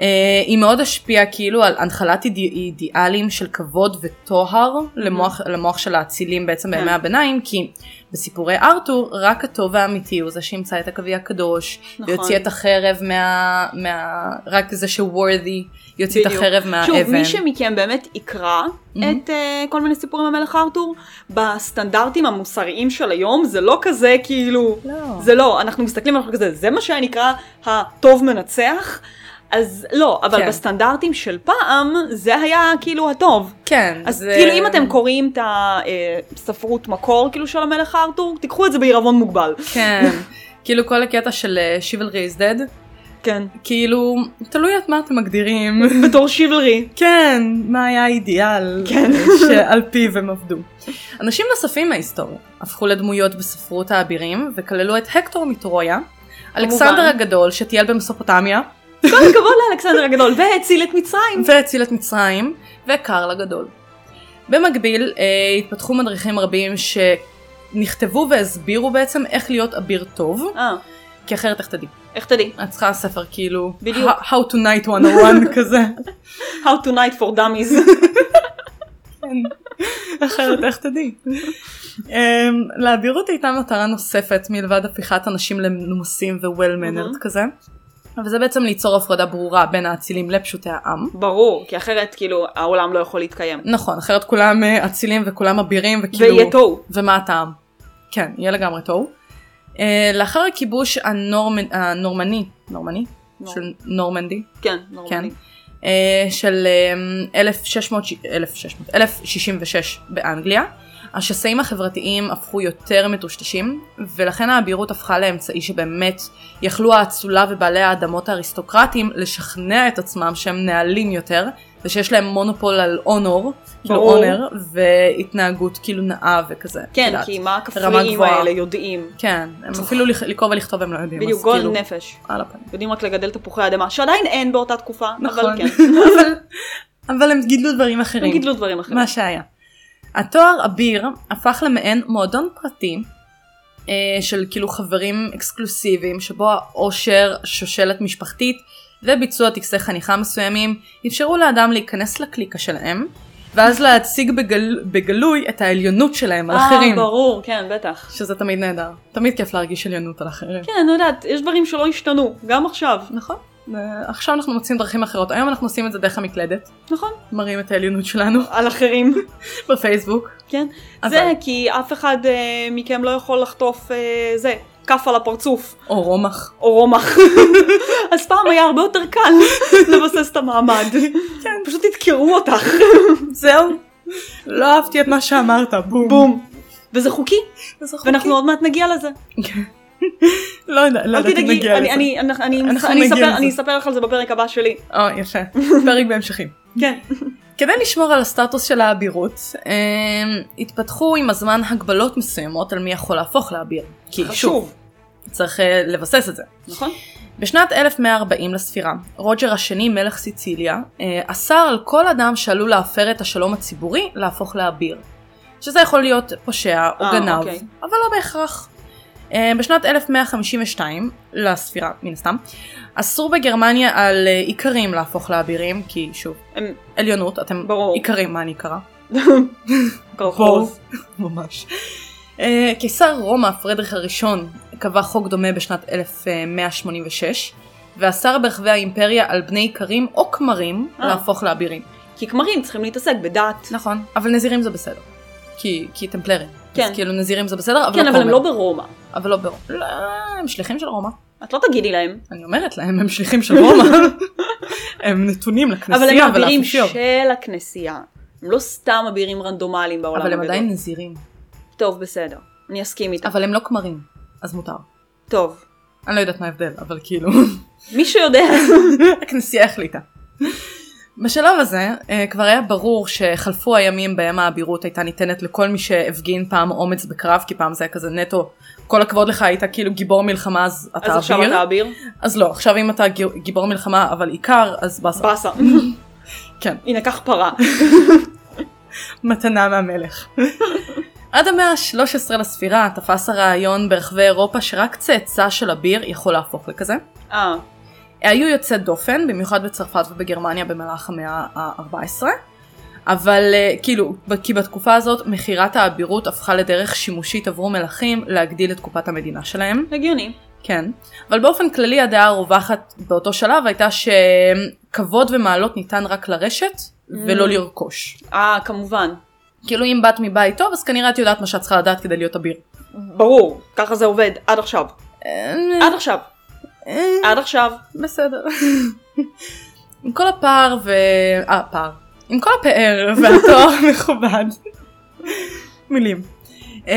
Speaker 1: אה, היא מאוד השפיעה כאילו על הנחלת איד... אידיאלים של כבוד וטוהר למוח, למוח של האצילים בעצם בימי
Speaker 3: Mm. כן.
Speaker 1: הביניים, כי בסיפורי ארתור רק הטוב האמיתי הוא זה שימצא את הקווי הקדוש,
Speaker 3: נכון.
Speaker 1: ויוציא את החרב מה... מה... רק זה שוורדי יוציא את
Speaker 3: בדיוק.
Speaker 1: החרב מהאבן.
Speaker 3: שוב, מי שמכם באמת יקרא
Speaker 1: מהמם.
Speaker 3: את אה, כל מיני סיפורים המלך ארתור, בסטנדרטים המוסריים של היום, זה לא כזה כאילו...
Speaker 1: לא.
Speaker 3: זה לא, אנחנו מסתכלים על חוק כזה, זה מה שהיה נקרא הטוב מנצח. אז לא, אבל
Speaker 1: כן.
Speaker 3: בסטנדרטים של פעם, זה היה כאילו הטוב.
Speaker 1: כן.
Speaker 3: אז
Speaker 1: זה-
Speaker 3: כאילו אם אתם קוראים את הספרות מקור כאילו של המלך ארתור, תיקחו את זה בעירבון מוגבל.
Speaker 1: כן. כאילו כל הקטע של שיבלרי is dead,
Speaker 3: כן.
Speaker 1: כאילו, תלוי את מה אתם מגדירים.
Speaker 3: בתור שיבלרי.
Speaker 1: כן, מה היה האידיאל
Speaker 3: כן.
Speaker 1: שעל פיו הם עבדו. אנשים נוספים מההיסטוריה הפכו לדמויות בספרות האבירים וכללו את הקטור מטרויה, אלכסנדר הגדול שטייל במסופוטמיה
Speaker 3: כל הכבוד לאלכסנדר הגדול, והציל את מצרים.
Speaker 1: והציל את מצרים, וקרל הגדול. במקביל אה, התפתחו מדריכים רבים שנכתבו והסבירו בעצם איך להיות אביר טוב,
Speaker 3: אה,
Speaker 1: כי אחרת איך תדעי?
Speaker 3: איך תדעי?
Speaker 1: את צריכה ספר כאילו,
Speaker 3: בדיוק.
Speaker 1: How- How to night 101 כזה.
Speaker 3: How to night for dummies.
Speaker 1: אחרת איך תדעי. אמ, לאבירות הייתה מטרה נוספת מלבד הפיכת אנשים למנומסים ו-well mannered
Speaker 3: Mhm.
Speaker 1: כזה. וזה בעצם ליצור הפרדה ברורה בין האצילים לפשוטי העם.
Speaker 3: ברור, כי אחרת כאילו העולם לא יכול להתקיים.
Speaker 1: נכון, אחרת כולם אה, אצילים וכולם אבירים וכאילו...
Speaker 3: ויהיה תוהו.
Speaker 1: ומה הטעם? כן, יהיה לגמרי טוב. אה, לאחר הכיבוש הנורמנ- הנורמני, נורמני?
Speaker 3: נור-
Speaker 1: של נורמנדי,
Speaker 3: כן,
Speaker 1: כן,
Speaker 3: נורמלי.
Speaker 1: אה, של אמ, 1600 1600 1066 באנגליה. השסעים החברתיים הפכו יותר מטושטשים, ולכן האבירות הפכה לאמצעי שבאמת יכלו האצולה ובעלי האדמות האריסטוקרטיים לשכנע את עצמם שהם נעלים יותר, ושיש להם מונופול על אונור, כאילו
Speaker 3: ברור.
Speaker 1: אונר, והתנהגות כאילו נאה וכזה. את
Speaker 3: כן,
Speaker 1: יודעת.
Speaker 3: כי מה
Speaker 1: רמה
Speaker 3: הכפריים
Speaker 1: גבוהה.
Speaker 3: האלה יודעים?
Speaker 1: כן, הם אפילו לכ- לקרוא ולכתוב הם לא יודעים,
Speaker 3: בדיוק,
Speaker 1: אז
Speaker 3: גול
Speaker 1: כאילו,
Speaker 3: נפש.
Speaker 1: על הפנים.
Speaker 3: יודעים רק לגדל תפוחי אדמה, שעדיין אין באותה תקופה,
Speaker 1: נכון.
Speaker 3: אבל כן.
Speaker 1: אבל- אבל הם גידלו דברים אחרים.
Speaker 3: גידלו דברים אחרים.
Speaker 1: מה שהיה. התואר אביר הפך למעין מועדון פרטי אה, של כאילו חברים אקסקלוסיביים שבו העושר, שושלת משפחתית וביצוע טקסי חניכה מסוימים אפשרו לאדם להיכנס לקליקה שלהם ואז להציג בגל, בגלוי את העליונות שלהם על אחרים.
Speaker 3: אה, ברור, כן, בטח.
Speaker 1: שזה תמיד נהדר. תמיד כיף להרגיש עליונות על אחרים.
Speaker 3: כן, אני יודעת, יש דברים שלא השתנו, גם עכשיו.
Speaker 1: נכון. אה, עכשיו אנחנו מוצאים דרכים אחרות. היום אנחנו עושים את זה דרך המקלדת.
Speaker 3: נכון.
Speaker 1: מראים את העליונות שלנו
Speaker 3: על אחרים.
Speaker 1: בפייסבוק.
Speaker 3: כן.
Speaker 1: אבל-
Speaker 3: זה כי אף אחד אה, מכם לא יכול לחטוף אה, זה, כף על הפרצוף,
Speaker 1: או רומח.
Speaker 3: או רומח. אז פעם היה הרבה יותר קל לבסס את המעמד. כן, פשוט ידקרו אותך.
Speaker 1: זהו. לא אהבתי את מה שאמרת, בום.
Speaker 3: בום. וזה חוקי,
Speaker 1: זה חוקי.
Speaker 3: ואנחנו עוד מעט נגיע לזה.
Speaker 1: לא יודע, לא
Speaker 3: אל
Speaker 1: יודעת אם
Speaker 3: תדאגי,
Speaker 1: נגיע לזה.
Speaker 3: אני- אני- אנחנו- אני-
Speaker 1: אנחנו
Speaker 3: אני
Speaker 1: נגיע
Speaker 3: אספר-
Speaker 1: לזה.
Speaker 3: אני אספר לך על זה בפרק הבא שלי.
Speaker 1: או, יפה. פרק בהמשכים.
Speaker 3: כן.
Speaker 1: כדי לשמור על הסטטוס של האבירות, אה, התפתחו עם הזמן הגבלות מסוימות על מי יכול להפוך לאביר. כי שוב,
Speaker 3: חשוב.
Speaker 1: צריך אה, לבסס את זה.
Speaker 3: נכון?
Speaker 1: בשנת 1140 לספירה, רוג'ר השני, מלך סיציליה, אה, אסר על כל אדם שעלול להפר את השלום הציבורי להפוך לאביר. שזה יכול להיות פושע או
Speaker 3: אה,
Speaker 1: גנב,
Speaker 3: אוקיי.
Speaker 1: אבל לא בהכרח. אה, בשנת 1152 לספירה, מן הסתם, אסור בגרמניה על אה, איכרים להפוך לאבירים, כי שוב,
Speaker 3: הם-
Speaker 1: עליונות, אתם
Speaker 3: ברור.
Speaker 1: איכרים, מה אני אקרא?
Speaker 3: קרחוז.
Speaker 1: ממש. אה, קיסר רומא פרדריך הראשון קבע חוק דומה בשנת אה, 1186 ואסר ברחבי האימפריה על בני איכרים או כמרים
Speaker 3: אה.
Speaker 1: להפוך לאבירים.
Speaker 3: כי כמרים צריכים להתעסק בדת.
Speaker 1: נכון. אבל נזירים זה בסדר. כי, כי טמפלרים.
Speaker 3: כן.
Speaker 1: אז כאילו נזירים זה בסדר, אבל
Speaker 3: כן,
Speaker 1: לא
Speaker 3: אבל הם
Speaker 1: כומר.
Speaker 3: לא ברומא.
Speaker 1: אבל לא ברומא. לא, הם שליחים של רומא.
Speaker 3: את לא תגידי להם.
Speaker 1: אני אומרת להם, הם שליחים של רומא. הם נתונים
Speaker 3: אבל
Speaker 1: לכנסייה
Speaker 3: הם אבירים
Speaker 1: ולאפיפיור.
Speaker 3: של הכנסייה. הם לא סתם אבירים רנדומליים בעולם
Speaker 1: אבל הם
Speaker 3: הגדול.
Speaker 1: עדיין נזירים.
Speaker 3: טוב, בסדר. אני אסכים איתך.
Speaker 1: אבל הם לא כמרים. אז מותר.
Speaker 3: טוב.
Speaker 1: אני לא יודעת מה ההבדל, אבל כאילו.
Speaker 3: מי שיודע.
Speaker 1: הכנסייה החליטה. בשלב הזה אה, כבר היה ברור שחלפו הימים בהם האבירות הייתה ניתנת לכל מי שהפגין פעם אומץ בקרב כי פעם זה היה כזה נטו כל הכבוד לך היית כאילו גיבור מלחמה אז
Speaker 3: אז
Speaker 1: אתה
Speaker 3: עכשיו
Speaker 1: אביר
Speaker 3: אתה אביר?
Speaker 1: אז לא עכשיו אם אתה גי- גיבור מלחמה אבל עיקר אז באסה
Speaker 3: באסה.
Speaker 1: כן.
Speaker 3: הנה, קח פרה.
Speaker 1: מתנה מהמלך. עד המאה ה-13 לספירה תפס הרעיון ברחבי אירופה שרק צאצא של הביר יכול להפוך לכזה.
Speaker 3: אה,
Speaker 1: היו יוצא דופן, במיוחד בצרפת ובגרמניה במהלך המאה ה-14, אבל אה, כאילו, ב- כי בתקופה הזאת מכירת האבירות הפכה לדרך שימושית עבור מלכים להגדיל את קופת המדינה שלהם.
Speaker 3: הגיוני.
Speaker 1: כן. אבל באופן כללי הדעה הרווחת באותו שלב הייתה שכבוד ומעלות ניתן רק לרשת ולא לרכוש.
Speaker 3: אה, כמובן.
Speaker 1: כאילו אם באת מבית טוב אז כנראה את יודעת מה שאת צריכה לדעת כדי להיות אביר.
Speaker 3: ברור, ככה זה עובד, עד עכשיו.
Speaker 1: אה,
Speaker 3: עד עכשיו.
Speaker 1: אה,
Speaker 3: עד עכשיו.
Speaker 1: בסדר. עם כל הפער ו... אה, פער. עם כל הפאר והתואר המכובד. מילים. Um,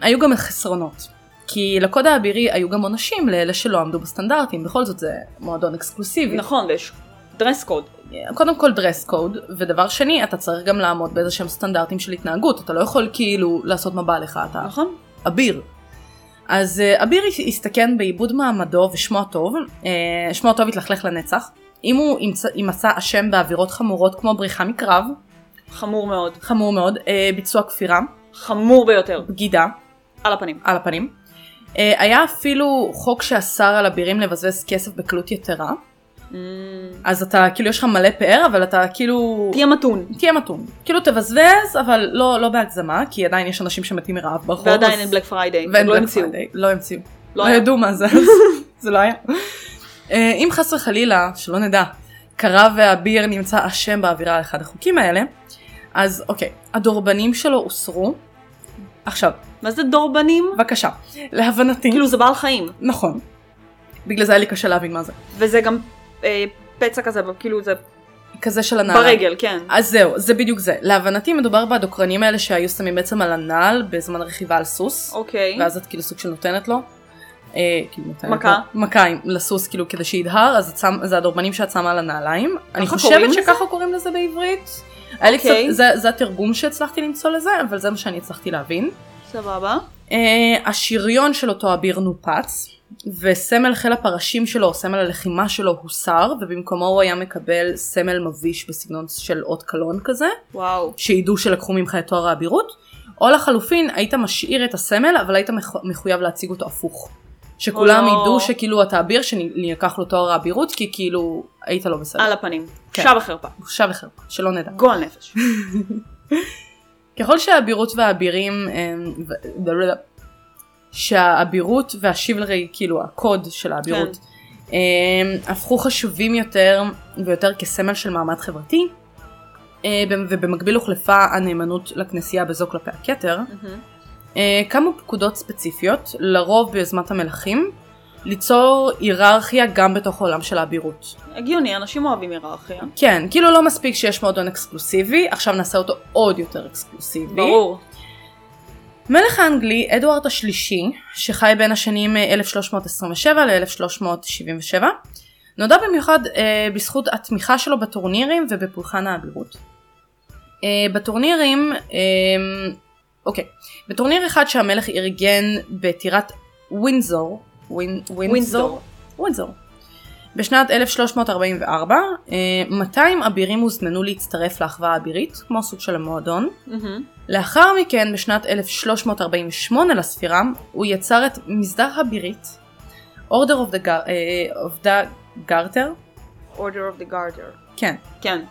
Speaker 1: היו גם חסרונות. כי לקוד האבירי היו גם עונשים לאלה שלא עמדו בסטנדרטים, בכל זאת זה מועדון אקסקלוסיבי.
Speaker 3: נכון, ויש דרס קוד.
Speaker 1: קודם כל דרס קוד, ודבר שני, אתה צריך גם לעמוד באיזה שהם סטנדרטים של התנהגות, אתה לא יכול כאילו לעשות מה בא לך, אתה
Speaker 3: נכון?
Speaker 1: אביר. אז אה, אביר הסתכן בעיבוד מעמדו ושמו הטוב, אה, שמו הטוב התלכלך לנצח. אם הוא ימצא- יימצא אשם בעבירות חמורות כמו בריחה מקרב,
Speaker 3: חמור מאוד.
Speaker 1: חמור מאוד, אה, ביצוע כפירה,
Speaker 3: חמור ביותר.
Speaker 1: בגידה,
Speaker 3: על הפנים.
Speaker 1: על הפנים. אה, היה אפילו חוק שאסר על אבירים לבזבז כסף בקלות יתרה, Mm. אז אתה כאילו יש לך מלא פאר אבל אתה כאילו...
Speaker 3: תהיה מתון.
Speaker 1: תהיה מתון. כאילו תבזבז, אבל לא, לא בהגזמה, כי עדיין יש אנשים שמתים מרעב ברחוב.
Speaker 3: ועדיין
Speaker 1: נכון, אז-
Speaker 3: אין בלק פריידיי.
Speaker 1: ואין
Speaker 3: לא
Speaker 1: Black
Speaker 3: המציאו.
Speaker 1: Friday, לא המציאו.
Speaker 3: לא
Speaker 1: לא
Speaker 3: היה.
Speaker 1: ידעו מה זה, אז זה לא היה. אה, אם חס וחלילה, שלא נדע, קרב והביר נמצא אשם באווירה על אחד החוקים האלה, אז אוקיי, הדורבנים שלו הוסרו. עכשיו,
Speaker 3: מה זה דורבנים?
Speaker 1: בבקשה, להבנתי,
Speaker 3: כאילו זה בעל חיים.
Speaker 1: נכון, בגלל זה היה לי קשה להבין מה זה,
Speaker 3: וזה גם אה, פצע כזה, כאילו זה
Speaker 1: כזה של הנעליים.
Speaker 3: ברגל, כן.
Speaker 1: אז זהו, זה בדיוק זה. להבנתי מדובר בדוקרנים האלה שהיו שמים בעצם על הנעל בזמן רכיבה על סוס,
Speaker 3: אוקיי.
Speaker 1: ואז את כאילו סוג של נותנת לו. אה, כאילו נותנת
Speaker 3: מכה.
Speaker 1: לו, מכה עם, לסוס כאילו כדי שידהר, אז את שם, זה הדורבנים שאת שמה על הנעליים. אני
Speaker 3: קוראים
Speaker 1: חושבת
Speaker 3: לזה?
Speaker 1: שככה קוראים לזה בעברית. היה לי
Speaker 3: אוקיי.
Speaker 1: קצת, זה, זה התרגום שהצלחתי למצוא לזה, אבל זה מה שאני הצלחתי להבין.
Speaker 3: סבבה.
Speaker 1: אה, השריון של אותו אביר נופץ, וסמל חיל הפרשים שלו, או סמל הלחימה שלו, הוסר, ובמקומו הוא היה מקבל סמל מביש בסגנון של אות קלון כזה,
Speaker 3: וואו.
Speaker 1: שידעו שלקחו ממך את תואר האבירות, או לחלופין היית משאיר את הסמל, אבל היית מחו- מחויב להציג אותו הפוך. שכולם
Speaker 3: או לא.
Speaker 1: ידעו שכאילו אתה אביר שנלקח לו תואר האבירות, כי כאילו היית לא בסדר.
Speaker 3: על הפנים.
Speaker 1: כן.
Speaker 3: שב וחרפה.
Speaker 1: בושה וחרפה, שלא נדע.
Speaker 3: גועל נפש.
Speaker 1: ככל שהאבירות והאבירים, אמ, ו- ו- שהאבירות והשיבלרי, כאילו הקוד של האבירות,
Speaker 3: כן.
Speaker 1: אמ, הפכו חשובים יותר ויותר כסמל של מעמד חברתי, אה, ב- ובמקביל הוחלפה הנאמנות לכנסייה בזו כלפי הכתר.
Speaker 3: מהמם.
Speaker 1: אה, קמו פקודות ספציפיות, לרוב ביוזמת המלכים, ליצור היררכיה גם בתוך העולם של האבירות.
Speaker 3: הגיוני, אנשים אוהבים היררכיה.
Speaker 1: כן, כאילו לא מספיק שיש מועדון אקסקלוסיבי, עכשיו נעשה אותו עוד יותר אקסקלוסיבי.
Speaker 3: ברור.
Speaker 1: מלך האנגלי, אדוארד השלישי, שחי בין השנים אה, 1327 ל-1377, נודע במיוחד אה, בזכות התמיכה שלו בטורנירים ובפולחן האבירות. אה, בטורנירים, אה, אוקיי, בטורניר אחד שהמלך ארגן בטירת ווינזור, ווינ,
Speaker 3: ווינזור.
Speaker 1: ווינזור, ווינזור, בשנת 1344, אה, 200 אבירים הוזמנו להצטרף לאחווה האבירית, כמו סוג של המועדון. Mm-hmm.
Speaker 3: מהמם.
Speaker 1: לאחר מכן, בשנת 1348 לספירה, הוא יצר את מסדר הבירית, Order of the, Gar- אה, of the Garter,
Speaker 3: Order of the Garter.
Speaker 1: כן,
Speaker 3: כן.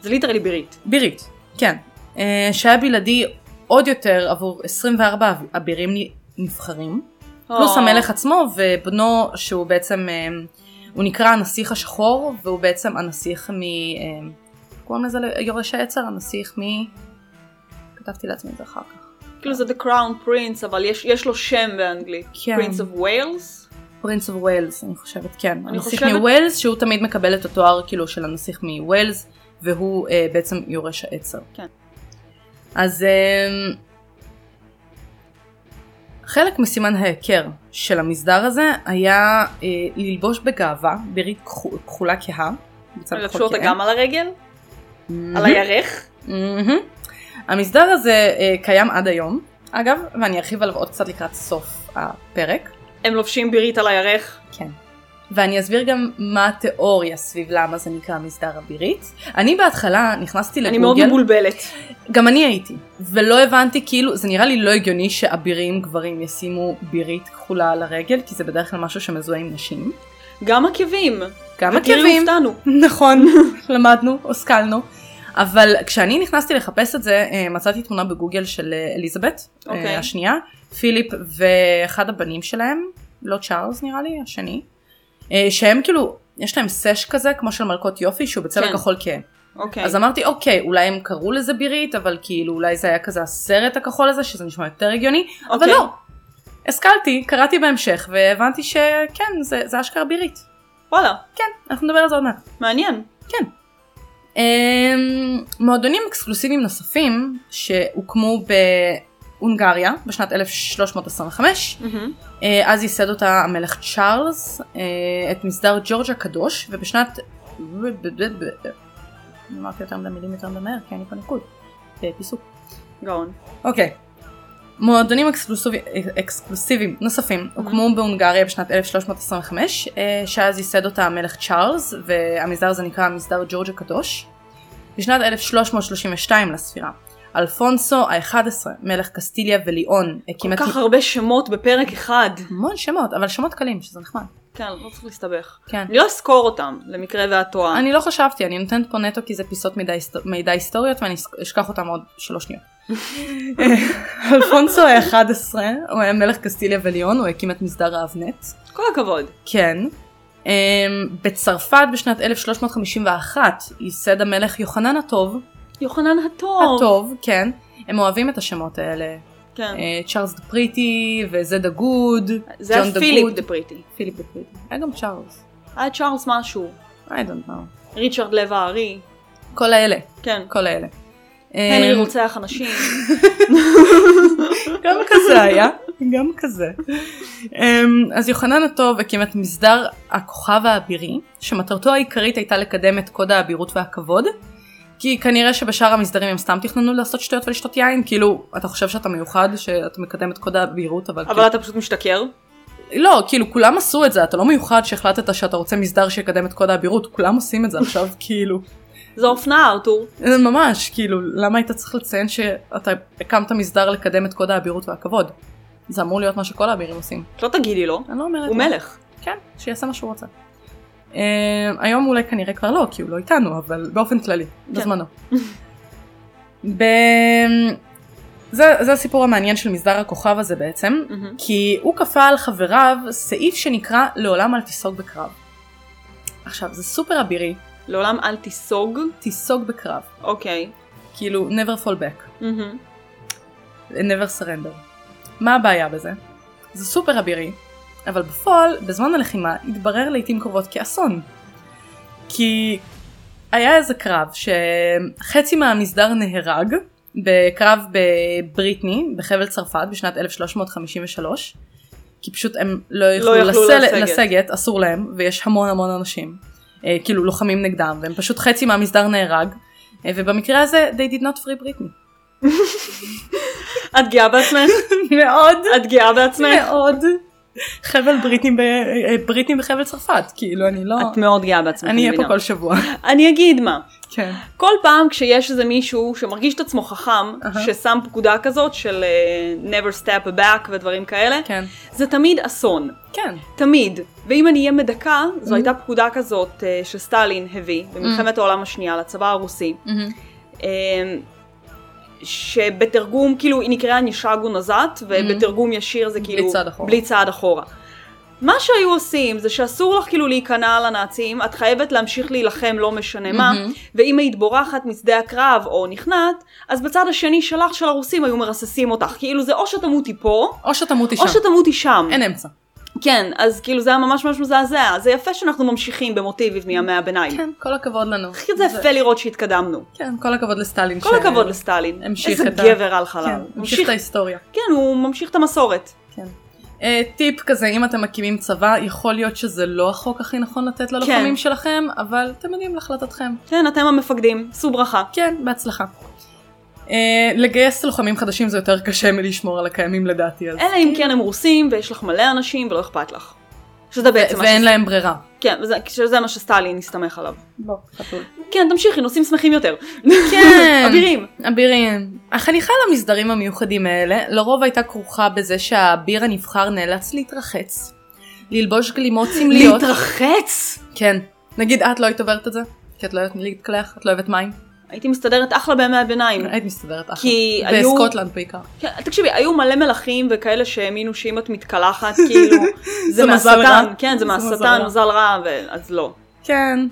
Speaker 3: זה ליטרלי בירית.
Speaker 1: Oh. בירית, כן, אה, שהיה בלעדי עוד יותר עבור 24 אב- אבירים נ- נבחרים, פלוס המלך עצמו ובנו שהוא בעצם, אה, הוא נקרא הנסיך השחור, והוא בעצם הנסיך מ... אה, קוראים לזה יורש העצר? הנסיך מ... כתבתי לעצמי את זה אחר כך.
Speaker 3: כאילו זה The Crown Prince, אבל יש, יש לו שם באנגלית.
Speaker 1: כן.
Speaker 3: Prince of Wales?
Speaker 1: פרינס אוף ווילס, אני חושבת, כן.
Speaker 3: אני
Speaker 1: הנסיך
Speaker 3: חושבת-
Speaker 1: מווילס, שהוא תמיד מקבל את התואר כאילו של הנסיך מווילס, והוא אה, בעצם יורש העצר.
Speaker 3: כן.
Speaker 1: אז אה, חלק מסימן ההיכר של המסדר הזה היה אה, ללבוש בגאווה ברית כחו- כחולה כהה. בצד
Speaker 3: לבשו
Speaker 1: כחול
Speaker 3: אותה
Speaker 1: כהה.
Speaker 3: גם על הרגל?
Speaker 1: Mm-hmm. מהמם.
Speaker 3: על הירך?
Speaker 1: מהמם. המסדר הזה אה, קיים עד היום, אגב, ואני ארחיב עליו עוד קצת לקראת סוף הפרק.
Speaker 3: הם לובשים בירית על הירך?
Speaker 1: כן. ואני אסביר גם מה התיאוריה סביב למה זה נקרא מסדר אבירית. אני בהתחלה נכנסתי
Speaker 3: אני מאוד
Speaker 1: לגוגל,
Speaker 3: מבולבלת.
Speaker 1: גם אני הייתי, ולא הבנתי כאילו, זה נראה לי לא הגיוני שאבירים גברים ישימו בירית כחולה על הרגל, כי זה בדרך כלל משהו שמזוהה עם נשים.
Speaker 3: גם עקבים.
Speaker 1: גם
Speaker 3: ותראי,
Speaker 1: עקבים,
Speaker 3: הופתענו.
Speaker 1: נכון, למדנו, השכלנו. אבל כשאני נכנסתי לחפש את זה, אה, מצאתי תמונה בגוגל של אה, אליזבת, okay.
Speaker 3: אוקיי.
Speaker 1: השנייה, פיליפ ואחד הבנים שלהם, לא צ'ארלס נראה לי, השני, אה, שהם כאילו, יש להם סש כזה, כמו של מלכות יופי, שהוא בצבע
Speaker 3: כן.
Speaker 1: כחול כהה.
Speaker 3: אוקיי.
Speaker 1: אז אמרתי, אוקיי, אולי הם קראו לזה בירית, אבל כאילו אולי זה היה כזה הסרט הכחול הזה, שזה נשמע יותר הגיוני, אבל
Speaker 3: אוקיי.
Speaker 1: לא. השכלתי, קראתי בהמשך, והבנתי שכן, זה, זה אשכרה בירית.
Speaker 3: וואלה,
Speaker 1: כן, אנחנו נדבר על זה עוד מעט.
Speaker 3: מעניין.
Speaker 1: Mm-hmm. אמ, מועדונים אקסקלוסיביים נוספים שהוקמו בהונגריה בשנת 1325,
Speaker 3: Mm-hmm.
Speaker 1: אה, אז ייסד אותה המלך צ'ארלס, אה, את מסדר ג'ורג' הקדוש, ובשנת... אמרתי יותר מדי מילים יותר מדי מהר, כי אני פה ניקוד. אה, פיסוק.
Speaker 3: גאון.
Speaker 1: אוקיי. מועדונים אקסקלוסיבי- אקסקלוסיביים נוספים הוקמו בהונגריה בשנת 1325, אה, שאז ייסד אותה המלך צ'ארלס, והמסדר הזה נקרא מסדר ג'ורג' הקדוש. בשנת 1332 לספירה, אלפונסו ה-11, מלך קסטיליה וליאון, הקים
Speaker 3: כל
Speaker 1: את...
Speaker 3: כך הרבה שמות בפרק אחד.
Speaker 1: המון שמות, אבל שמות קלים, שזה נחמד.
Speaker 3: כן, לא צריך להסתבך.
Speaker 1: כן.
Speaker 3: אני לא אסקור אותם, למקרה ואת טועה.
Speaker 1: אני לא חשבתי, אני נותנת פה נטו כי זה פיסות מידע, היסט- מידע היסטוריות ואני אס- אשכח אותם עוד שלוש שניות. אה, אלפונסו ה-11, הוא היה מלך קסטיליה וליון, הוא הקים את מסדר האבנט.
Speaker 3: כל הכבוד.
Speaker 1: כן. אמ, בצרפת בשנת 1351 ייסד המלך יוחנן הטוב,
Speaker 3: יוחנן הטוב.
Speaker 1: הטוב, כן, הם אוהבים את השמות האלה,
Speaker 3: כן.
Speaker 1: אה, צ'ארלס דה פריטי וזה דה גוד,
Speaker 3: זה היה
Speaker 1: ג'ון דה
Speaker 3: פיליפ
Speaker 1: גוד.
Speaker 3: דה פריטי.
Speaker 1: פיליפ דה פריטי, היה גם צ'ארלס,
Speaker 3: היה צ'ארלס משהו.
Speaker 1: I don't know,
Speaker 3: ריצ'רד לב הארי.
Speaker 1: כל האלה,
Speaker 3: כן.
Speaker 1: כל האלה.
Speaker 3: הנרי
Speaker 1: אמ,
Speaker 3: רוצח אנשים.
Speaker 1: גם כזה היה, גם כזה. אמ, אז יוחנן הטוב הקים את מסדר הכוכב האבירי, שמטרתו העיקרית הייתה לקדם את קוד האבירות והכבוד, כי כנראה שבשאר המסדרים הם סתם תכננו לעשות שטויות ולשתות יין, כאילו, אתה חושב שאתה מיוחד, שאתה מקדם את קוד האבירות, אבל...
Speaker 3: אבל אתה פשוט משתכר.
Speaker 1: כאילו, לא, כאילו, כולם עשו את זה, אתה לא מיוחד שהחלטת שאתה רוצה מסדר שיקדם את קוד האבירות, כולם עושים את זה עכשיו, כאילו.
Speaker 3: זו אופנה, ארתור.
Speaker 1: זה ממש, כאילו, למה היית צריך לציין שאתה הקמת מסדר לקדם את קוד האבירות והכבוד? זה אמור להיות מה שכל האבירים עושים.
Speaker 3: לא תגידי לו.
Speaker 1: אני לא אומרת.
Speaker 3: הוא
Speaker 1: לא.
Speaker 3: מלך.
Speaker 1: כן, שיעשה מה שהוא רוצה. Uh, היום אולי כנראה כבר לא, כי הוא לא איתנו, אבל באופן כללי, בזמנו. ב... זה, זה הסיפור המעניין של מסדר הכוכב הזה בעצם,
Speaker 3: מהמם.
Speaker 1: כי הוא כפה על חבריו סעיף שנקרא לעולם אל תיסוג בקרב. עכשיו, זה סופר אבירי,
Speaker 3: לעולם אל תיסוג.
Speaker 1: תיסוג בקרב.
Speaker 3: אוקיי.
Speaker 1: כאילו, never fall back,
Speaker 3: מהמם.
Speaker 1: never surrender. מה הבעיה בזה? זה סופר אבירי, אבל בפועל, בזמן הלחימה, התברר לעיתים קרובות כאסון. כי היה איזה קרב שחצי מהמסדר נהרג, בקרב בבריטני, בחבל צרפת, בשנת 1353, כי פשוט הם לא יכלו,
Speaker 3: יכלו
Speaker 1: לסל...
Speaker 3: לסגת.
Speaker 1: לסגת, אסור להם, ויש המון המון אנשים, אה, כאילו לוחמים נגדם, והם פשוט חצי מהמסדר נהרג, אה, ובמקרה הזה, they did not free בריטני.
Speaker 3: את גאה בעצמך?
Speaker 1: מאוד.
Speaker 3: את גאה בעצמך?
Speaker 1: מאוד. חבל בריטני, ב... אה, בריטני בחבל צרפת, כאילו אני לא...
Speaker 3: את מאוד גאה בעצמך.
Speaker 1: אני אהיה פה
Speaker 3: מבינה.
Speaker 1: כל שבוע.
Speaker 3: אני אגיד מה.
Speaker 1: כן.
Speaker 3: כל פעם כשיש איזה מישהו שמרגיש את עצמו חכם,
Speaker 1: אהה.
Speaker 3: ששם פקודה כזאת של אה, never step back ודברים כאלה,
Speaker 1: כן.
Speaker 3: זה תמיד אסון.
Speaker 1: כן.
Speaker 3: תמיד. ואם אני אהיה מדכא, זו
Speaker 1: Mm-hmm.
Speaker 3: הייתה פקודה כזאת אה, שסטלין הביא
Speaker 1: Mm.
Speaker 3: במלחמת העולם השנייה לצבא הרוסי. אה, שבתרגום, כאילו, היא נקראה נישגו נזת, ובתרגום ישיר זה כאילו...
Speaker 1: Mm-hmm. צעד אחורה.
Speaker 3: בלי צעד אחורה. מה שהיו עושים זה שאסור לך כאילו להיכנע לנאצים, את חייבת להמשיך להילחם לא משנה מה,
Speaker 1: מהמם.
Speaker 3: ואם היית בורחת משדה הקרב או נכנעת, אז בצד השני שלך של הרוסים היו מרססים אותך, כאילו זה או שתמותי פה,
Speaker 1: או שתמותי שם.
Speaker 3: או שתמותי שם.
Speaker 1: אין אמצע.
Speaker 3: כן, אז כאילו זה היה ממש ממש מזעזע, זה יפה שאנחנו ממשיכים במוטיבים מימי הביניים.
Speaker 1: כן, כל הכבוד לנו.
Speaker 3: זה יפה לראות שהתקדמנו.
Speaker 1: כן, כל הכבוד לסטלין.
Speaker 3: כל הכבוד לסטלין.
Speaker 1: המשיך
Speaker 3: איזה
Speaker 1: את ה-
Speaker 3: גבר על חלל.
Speaker 1: כן, המשיך את ההיסטוריה.
Speaker 3: כן, הוא ממשיך את המסורת.
Speaker 1: אה, טיפ כזה, אם אתם מקימים צבא, יכול להיות שזה לא החוק הכי נכון לתת ללוחמים
Speaker 3: כן.
Speaker 1: שלכם, אבל אתם יודעים להחלטתכם.
Speaker 3: כן, אתם המפקדים, שאו ברכה.
Speaker 1: כן, בהצלחה. אה, לגייס לוחמים חדשים זה
Speaker 3: אה,
Speaker 1: יותר קשה מלשמור על הקיימים לדעתי, אז
Speaker 3: אלא אם כן הם רוסים, ויש לך מלא אנשים ולא אכפת לך. יש שזה בעצם... מה
Speaker 1: ואין
Speaker 3: ש-
Speaker 1: להם ברירה.
Speaker 3: כן, וזה- שזה מה שסטלין הסתמך עליו.
Speaker 2: לא, חתול.
Speaker 3: כן, תמשיכי, נושאים שמחים יותר.
Speaker 1: כן.
Speaker 3: אבירים.
Speaker 1: אבירים. החניכה למסדרים המיוחדים האלה לרוב הייתה כרוכה בזה שהאביר הנבחר נאלץ להתרחץ, ללבוש גלימות סמליות.
Speaker 3: להתרחץ!
Speaker 1: כן. נגיד את לא היית עוברת את זה? כי את לא יודעת להתקלח, את לא אוהבת מים.
Speaker 3: הייתי מסתדרת אחלה בימי הביניים.
Speaker 1: היית מסתדרת אחלה.
Speaker 3: כי היו...
Speaker 1: בסקוטלנד בעיקר.
Speaker 3: כן, תקשיבי, היו מלא מלכים וכאלה שהאמינו שאם את מתקלחת, כאילו, זה
Speaker 1: זה מזל רע.
Speaker 3: מהשטן, כן, זה
Speaker 1: זה
Speaker 3: מהשטן,
Speaker 1: מזל רע.
Speaker 3: מזל רע, ו- אז לא.
Speaker 1: כן.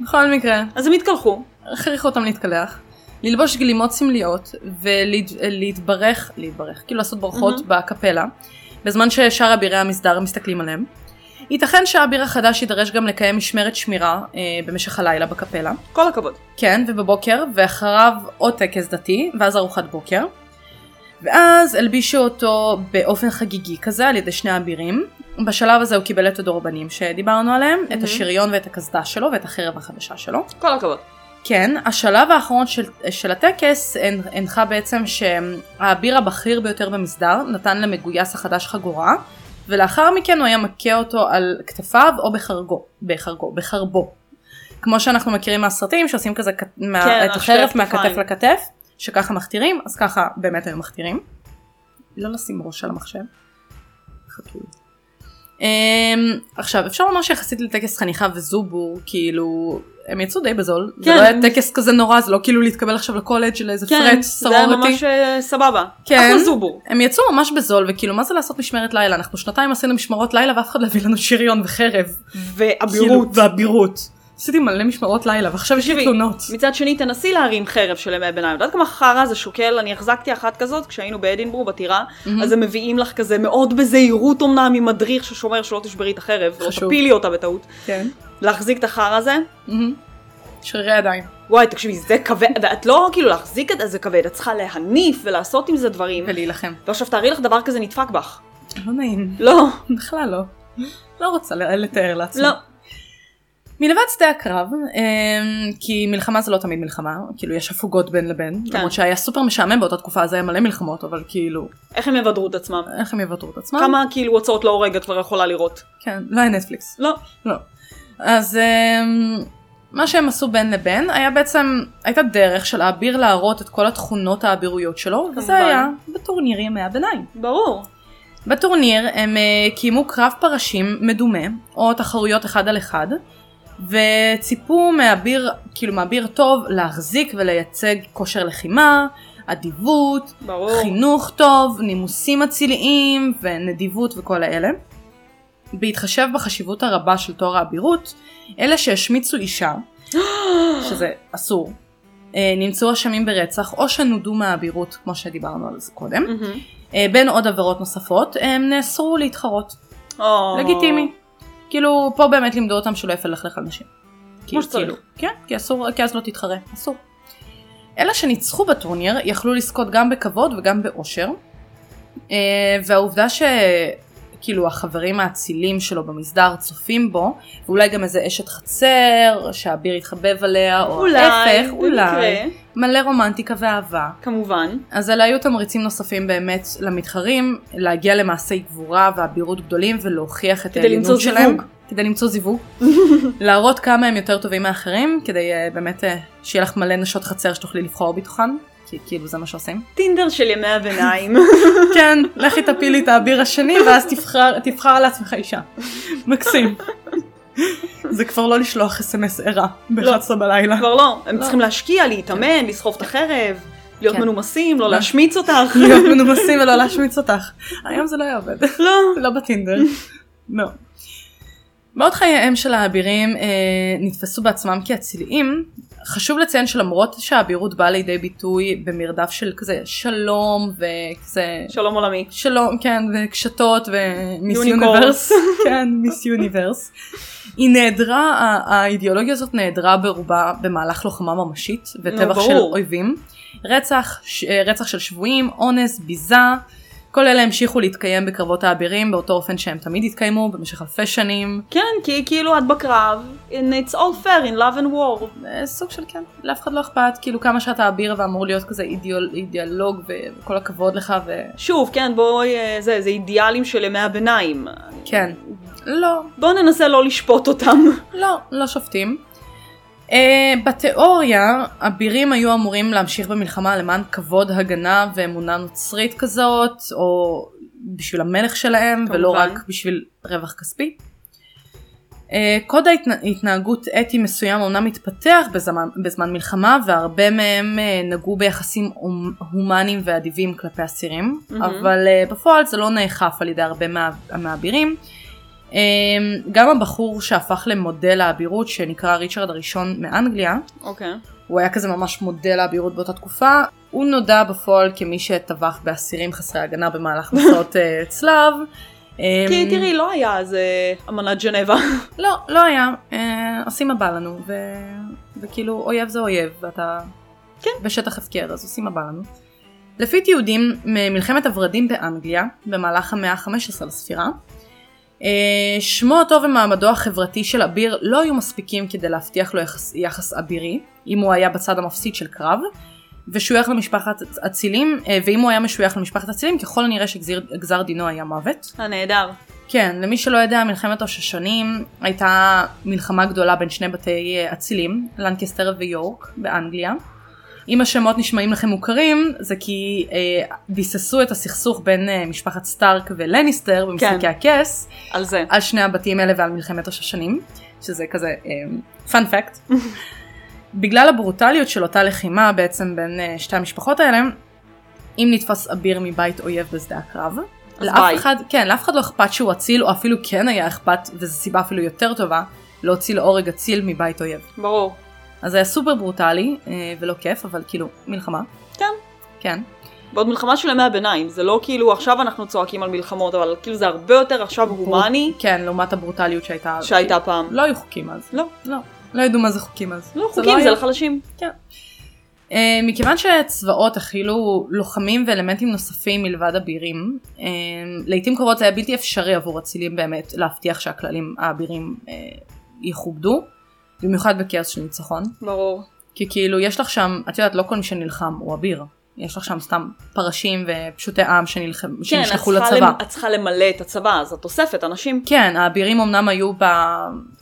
Speaker 1: בכל מקרה,
Speaker 3: אז הם התקלחו.
Speaker 1: הכריחו אותם להתקלח, ללבוש גלימות סמליות ולהתברך, להתברך, כאילו לעשות ברכות
Speaker 3: Mhm.
Speaker 1: בקפלה, בזמן ששאר אבירי המסדר מסתכלים עליהם. ייתכן שהאביר החדש יידרש גם לקיים משמרת שמירה אה, במשך הלילה בקפלה,
Speaker 3: כל הכבוד.
Speaker 1: כן, ובבוקר, ואחריו עוד טקס דתי, ואז ארוחת בוקר. ואז הלבישו אותו באופן חגיגי כזה על ידי שני אבירים. בשלב הזה הוא קיבל את הדורבנים שדיברנו עליהם, את
Speaker 3: Mhm.
Speaker 1: השריון ואת הקסדה שלו ואת החרב החדשה שלו.
Speaker 3: כל הכבוד.
Speaker 1: כן, השלב האחרון של, של הטקס הנ- הנחה בעצם שהאביר הבכיר ביותר במסדר נתן למגויס החדש חגורה, ולאחר מכן הוא היה מכה אותו על כתפיו או בחרגו, בחרגו, בחרבו. כמו שאנחנו מכירים מהסרטים שעושים כזה כת- מה,
Speaker 3: כן,
Speaker 1: את
Speaker 3: השתי
Speaker 1: החרף
Speaker 3: הכתפיים.
Speaker 1: מהכתף לכתף, שככה מכתירים, אז ככה באמת היו מכתירים. לא לשים ראש על המחשב. חתול. Um, עכשיו אפשר לומר שיחסית לטקס חניכה וזובור כאילו הם יצאו די בזול
Speaker 3: כן.
Speaker 1: זה לא היה טקס כזה נורא זה לא כאילו להתקבל עכשיו לקולג' לאיזה
Speaker 3: כן,
Speaker 1: פרט
Speaker 3: זה היה
Speaker 1: סרוריטי
Speaker 3: ממש אה, סבבה.
Speaker 1: כן.
Speaker 3: אחלה זובור.
Speaker 1: הם יצאו ממש בזול וכאילו מה זה לעשות משמרת לילה אנחנו שנתיים עשינו משמרות לילה ואף אחד לא הביא לנו שריון וחרב
Speaker 3: ואבירות.
Speaker 1: כאילו, ואבירות עשיתי מלא משמרות לילה ועכשיו יש לי
Speaker 3: תקשיבי,
Speaker 1: תלונות
Speaker 3: מצד שני תנסי להרים חרב של ימי ביניים. את יודעת כמה חרא זה שוקל? אני החזקתי אחת כזאת כשהיינו באדינבורג בטירה,
Speaker 1: מהמם.
Speaker 3: אז הם מביאים לך כזה מאוד בזהירות אמנם עם מדריך ששומר שלא תשברי את החרב, ולא
Speaker 1: חשוב.
Speaker 3: תפילי אותה בטעות.
Speaker 1: כן.
Speaker 3: להחזיק את החרא הזה,
Speaker 1: מהמם. שרירי ידיים
Speaker 3: וואי תקשיבי זה כבד, ואת לא כאילו להחזיק את זה כבד, את צריכה להניף ולעשות עם זה דברים.
Speaker 1: ולהילחם
Speaker 3: ועכשיו תארי לך דבר כזה נדפק בך.
Speaker 1: לא נעים
Speaker 3: לא,
Speaker 1: בכלל לא לא רוצה לתאר לעצמי
Speaker 3: לא.
Speaker 1: מלבד שדה הקרב, אמ, כי מלחמה זה לא תמיד מלחמה, כאילו יש הפוגות בין לבין,
Speaker 3: כן.
Speaker 1: למרות שהיה סופר משעמם באותה תקופה, אז היה מלא מלחמות, אבל כאילו,
Speaker 3: איך הם יבדרו את עצמם?
Speaker 1: איך הם יוותרו את עצמם?
Speaker 3: כמה כאילו הוצאות להורג את כבר יכולה לראות?
Speaker 1: כן, לא היה נטפליקס.
Speaker 3: לא.
Speaker 1: לא. אז אמ, מה שהם עשו בין לבין היה בעצם, הייתה דרך של האביר להראות את כל התכונות האבירויות שלו, וזה
Speaker 3: כמובן.
Speaker 1: היה בטורניר ימי הביניים.
Speaker 3: ברור.
Speaker 1: בטורניר הם אה, קיימו קרב פרשים מדומה, או תחרויות אחד על אחד, וציפו מאביר, כאילו מאביר טוב, להחזיק ולייצג כושר לחימה, אדיבות,
Speaker 3: ברור.
Speaker 1: חינוך טוב, נימוסים אציליים ונדיבות וכל האלה. בהתחשב בחשיבות הרבה של תואר האבירות, אלה שהשמיצו אישה, שזה אסור, אה, נמצאו אשמים ברצח או שנודו מהאבירות, כמו שדיברנו על זה קודם.
Speaker 3: מהמם.
Speaker 1: אה, בין עוד עבירות נוספות, אה, הם נאסרו להתחרות.
Speaker 3: או.
Speaker 1: לגיטימי. כאילו, פה באמת לימדו אותם שלא יפה ללכלך על נשים. כי-
Speaker 3: שצריך.
Speaker 1: כאילו, כן, כי אסור, כי אז לא תתחרה. אסור. אלה שניצחו בטורניר יכלו לזכות גם בכבוד וגם באושר. אה, והעובדה שכאילו החברים האצילים שלו במסדר צופים בו, ואולי גם איזה אשת חצר, שהאביר התחבב עליה, או
Speaker 3: אולי,
Speaker 1: ההפך, אולי,
Speaker 3: במקרה,
Speaker 1: מלא רומנטיקה ואהבה.
Speaker 3: כמובן.
Speaker 1: אז אלה היו תמריצים נוספים באמת למתחרים להגיע למעשי גבורה ואבירות גדולים ולהוכיח את
Speaker 3: כדי
Speaker 1: העליונות
Speaker 3: למצוא
Speaker 1: שלהם.
Speaker 3: זיווג.
Speaker 1: כדי למצוא זיווג. להראות כמה הם יותר טובים מאחרים כדי אה, באמת אה, שיהיה לך מלא נשות חצר שתוכלי לבחור בתוכן. כי כאילו זה מה שעושים.
Speaker 3: טינדר של ימי הביניים.
Speaker 1: כן, לכי תפילי את האביר השני ואז תבחר, תבחר לעצמך אישה. מקסים. זה כבר לא לשלוח אס.אם.אס ערה ב-11 בלילה.
Speaker 3: כבר לא. הם
Speaker 1: לא.
Speaker 3: צריכים להשקיע, להתאמן, לסחוב את החרב, להיות
Speaker 1: כן.
Speaker 3: מנומסים, לא
Speaker 1: לא.
Speaker 3: להשמיץ אותך.
Speaker 1: להיות מנומסים ולא להשמיץ אותך. היום זה לא יעבוד.
Speaker 3: לא.
Speaker 1: לא בטינדר. לא. בעוד חייהם של האבירים אה, נתפסו בעצמם כאציליים, חשוב לציין שלמרות שהאבירות באה לידי ביטוי במרדף של כזה שלום וכזה
Speaker 3: שלום עולמי.
Speaker 1: שלום כן וקשתות ומיס
Speaker 3: Unicorns.
Speaker 1: יוניברס, כן מיס יוניברס, היא נעדרה, ה- האידיאולוגיה הזאת נעדרה ברובה במהלך לוחמה ממשית וטבח
Speaker 3: נו,
Speaker 1: של
Speaker 3: לא, ברור.
Speaker 1: אויבים, רצח, ש, אה, רצח של שבויים, אונס, ביזה, כל אלה המשיכו להתקיים בקרבות האבירים באותו אופן שהם תמיד התקיימו במשך אלפי שנים,
Speaker 3: כן, כי כאילו את בקרב, and it's all fair in love and war.
Speaker 1: אה, סוג של כן, לאף אחד לא אכפת, כאילו כמה שאתה אביר ואמור להיות כזה אידיאול, אידיאלוג וכל הכבוד לך ו...
Speaker 3: שוב, כן, בואי, אה, זה, זה אידיאלים של ימי הביניים.
Speaker 1: כן. לא,
Speaker 3: בואו ננסה לא לשפוט אותם.
Speaker 1: לא, לא שופטים. Uh, בתיאוריה, אבירים היו אמורים להמשיך במלחמה למען כבוד, הגנה ואמונה נוצרית כזאת, או בשביל המלך שלהם,
Speaker 3: כמובן.
Speaker 1: ולא רק בשביל רווח כספי. Uh, קוד ההתנה- התנהגות אתי מסוים אומנם התפתח בזמן, בזמן מלחמה, והרבה מהם uh, נגעו ביחסים הומ- הומניים ואדיבים כלפי אסירים,
Speaker 3: מהמם.
Speaker 1: אבל uh, בפועל זה לא נאכף על ידי הרבה מה- מהאבירים. אמ, גם הבחור שהפך למודל האבירות שנקרא ריצ'רד הראשון מאנגליה,
Speaker 3: אוקיי.
Speaker 1: הוא היה כזה ממש מודל האבירות באותה תקופה, הוא נודע בפועל כמי שטבח באסירים חסרי הגנה במהלך מסעות אה, צלב. אמ,
Speaker 3: כי תראי, לא היה אז אה, אמנת ג'נבה.
Speaker 1: לא, לא היה, אה, עושים מה בא לנו, ו... וכאילו אויב זה אויב, ואתה
Speaker 3: כן.
Speaker 1: בשטח הפקר, אז עושים מה בא לנו. לפי תיעודים ממלחמת הורדים באנגליה, במהלך המאה ה-15 לספירה, אה, שמו הטוב ומעמדו החברתי של אביר לא היו מספיקים כדי להבטיח לו יחס, יחס אבירי, אם הוא היה בצד המפסיד של קרב, ושוייך למשפחת אצילים, אה, ואם הוא היה משוייך למשפחת אצילים, ככל הנראה שגזר דינו היה מוות.
Speaker 3: אה, הנהדר.
Speaker 1: כן, למי שלא יודע, מלחמת השושנים הייתה מלחמה גדולה בין שני בתי אה, אצילים, לנקסטר ויורק באנגליה. אם השמות נשמעים לכם מוכרים, זה כי אה, ביססו את הסכסוך בין אה, משפחת סטארק ולניסטר במשחקי
Speaker 3: כן.
Speaker 1: הכס,
Speaker 3: על זה.
Speaker 1: על שני הבתים האלה ועל מלחמת השושנים, שזה כזה פאנפקט. בגלל הברוטליות של אותה לחימה בעצם בין אה, שתי המשפחות האלה, אם נתפס אביר מבית אויב בשדה הקרב,
Speaker 3: אז
Speaker 1: לאף
Speaker 3: ביי.
Speaker 1: אחד, כן, לאף אחד לא אכפת שהוא אציל, או אפילו כן היה אכפת, וזו סיבה אפילו יותר טובה, להוציא להורג אציל מבית אויב.
Speaker 3: ברור.
Speaker 1: אז זה היה סופר ברוטלי, אה, ולא כיף, אבל כאילו, מלחמה.
Speaker 3: כן.
Speaker 1: כן.
Speaker 3: ועוד מלחמה של ימי הביניים, זה לא כאילו עכשיו אנחנו צועקים על מלחמות, אבל כאילו זה הרבה יותר עכשיו הומני
Speaker 1: כן, לעומת הברוטליות שהייתה...
Speaker 3: שהייתה פעם.
Speaker 1: לא היו חוקים אז.
Speaker 3: לא.
Speaker 1: לא. לא ידעו מה זה חוקים אז.
Speaker 3: לא,
Speaker 1: לא
Speaker 3: חוקים
Speaker 1: היה.
Speaker 3: זה לחלשים.
Speaker 1: אה, מכיוון שצבאות הכילו לוחמים ואלמנטים נוספים מלבד אבירים, אה, לעיתים קרובות זה היה בלתי אפשרי עבור אצילים באמת להבטיח שהכללים האבירים אה, יכובדו, במיוחד בכאוס של ניצחון.
Speaker 3: ברור.
Speaker 1: כי כאילו יש לך שם, את יודעת, לא כל מי שנלחם הוא אביר. יש לך שם סתם פרשים ופשוטי עם שנלחם,
Speaker 3: כן, את
Speaker 1: שנשלחו
Speaker 3: צריכה
Speaker 1: לצבא.
Speaker 3: למ- את צריכה למלא את הצבא, אז את אוספת אנשים.
Speaker 1: כן, האבירים אמנם היו ב...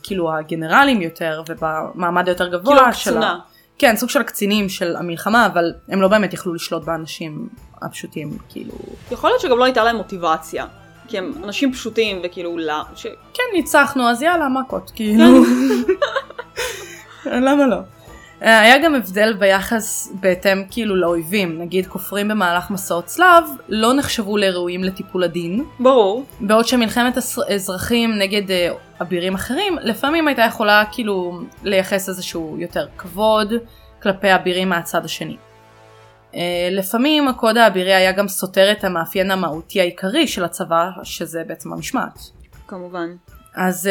Speaker 1: כאילו הגנרלים יותר ובמעמד היותר גבוה
Speaker 3: כאילו
Speaker 1: של ה-
Speaker 3: הקצונה.
Speaker 1: כן, סוג של קצינים של המלחמה, אבל הם לא באמת יכלו לשלוט באנשים הפשוטים, כאילו...
Speaker 3: יכול להיות שגם לא הייתה להם מוטיבציה. כי הם אנשים פשוטים, וכאילו, לא, ש...
Speaker 1: כן, ניצחנו, אז יאללה, מכות, כאילו... למה לא? אה, היה גם הבדל ביחס בהתאם כאילו לאויבים, נגיד כופרים במהלך מסעות צלב לא נחשבו לראויים לטיפול הדין,
Speaker 3: ברור.
Speaker 1: בעוד שמלחמת אס- אזרחים נגד אה, אבירים אחרים לפעמים הייתה יכולה כאילו לייחס איזשהו יותר כבוד כלפי אבירים מהצד השני. אה, לפעמים הקוד האבירי היה גם סותר את המאפיין המהותי העיקרי של הצבא שזה בעצם המשמעת.
Speaker 3: כמובן.
Speaker 1: אז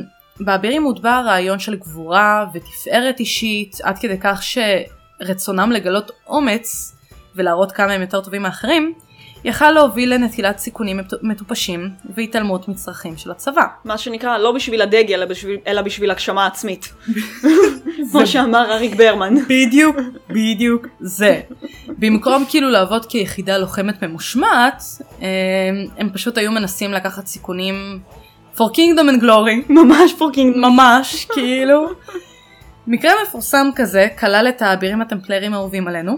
Speaker 1: um, באבירים הוטבע הרעיון של גבורה ותפארת אישית, עד כדי כך שרצונם לגלות אומץ ולהראות כמה הם יותר טובים מאחרים, יכל להוביל לנטילת סיכונים מטו- מטופשים והתעלמות מצרכים של הצבא.
Speaker 3: מה שנקרא, לא בשביל הדגל, אלא בשביל, אלא בשביל הגשמה עצמית. כמו שאמר אריק ברמן.
Speaker 1: בדיוק, בדיוק זה. במקום כאילו לעבוד כיחידה לוחמת ממושמעת, um, הם פשוט היו מנסים לקחת סיכונים for kingdom and glory.
Speaker 3: ממש פורקינג.
Speaker 1: ממש, כאילו. מקרה מפורסם כזה כלל את האבירים הטמפלרים האהובים עלינו,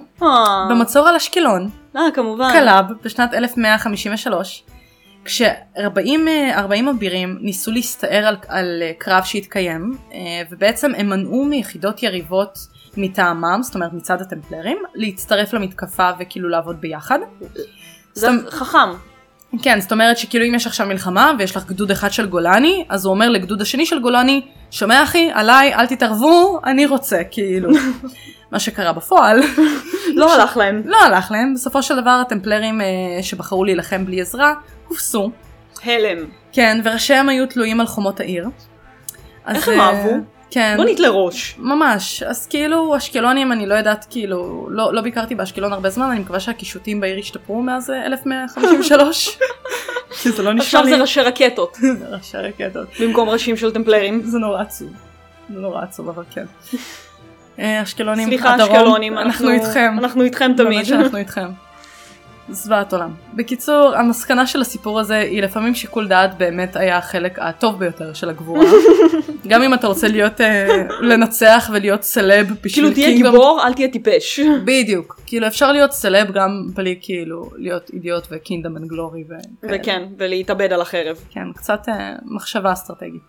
Speaker 1: במצור על אשקלון,
Speaker 3: אה, כמובן.
Speaker 1: כלב בשנת 1153, כש-40 אה, אבירים ניסו להסתער על, על אה, קרב שהתקיים, אה, ובעצם הם מנעו מיחידות יריבות מטעמם, זאת אומרת מצד הטמפלרים, להצטרף למתקפה וכאילו לעבוד ביחד.
Speaker 3: זה
Speaker 1: סתם-
Speaker 3: חכם.
Speaker 1: כן, זאת אומרת שכאילו אם יש עכשיו מלחמה ויש לך גדוד אחד של גולני, אז הוא אומר לגדוד השני של גולני, שומע אחי, עליי, אל תתערבו, אני רוצה, כאילו. מה שקרה בפועל,
Speaker 3: לא הלך להם.
Speaker 1: לא הלך להם, בסופו של דבר הטמפלרים אה, שבחרו להילחם בלי עזרה, הופסו.
Speaker 3: הלם.
Speaker 1: כן, וראשיהם היו תלויים על חומות העיר. אז,
Speaker 3: איך הם
Speaker 1: אה,
Speaker 3: אהבו?
Speaker 1: כן.
Speaker 3: בונית לראש.
Speaker 1: ממש, אז כאילו אשקלונים, אני לא יודעת, כאילו, לא, לא ביקרתי באשקלון הרבה זמן, אני מקווה שהקישוטים בעיר השתפרו מאז אה, 1153. כי זה לא נשמע
Speaker 3: עכשיו
Speaker 1: לי...
Speaker 3: זה ראשי רקטות.
Speaker 1: ראשי רקטות.
Speaker 3: במקום ראשים של טמפלרים.
Speaker 1: זה נורא עצוב. זה נורא עצוב, אבל כן. אה, אשקלונים,
Speaker 3: סליחה
Speaker 1: הדרום,
Speaker 3: אשקלונים,
Speaker 1: אנחנו איתכם.
Speaker 3: אנחנו איתכם
Speaker 1: באמת
Speaker 3: תמיד.
Speaker 1: שאנחנו איתכם. זוועת עולם. בקיצור, המסקנה של הסיפור הזה היא לפעמים שיקול דעת באמת היה החלק הטוב ביותר של הגבורה. גם אם אתה רוצה להיות, אה, לנצח ולהיות סלב בשביל
Speaker 3: כאילו תהיה
Speaker 1: קינגדום-
Speaker 3: גיבור אל תהיה טיפש.
Speaker 1: בדיוק. כאילו אפשר להיות סלב גם בלי כאילו להיות אידיוט וקינדום אנד גלורי וכאלה.
Speaker 3: וכן, ולהתאבד על החרב.
Speaker 1: כן, קצת אה, מחשבה אסטרטגית.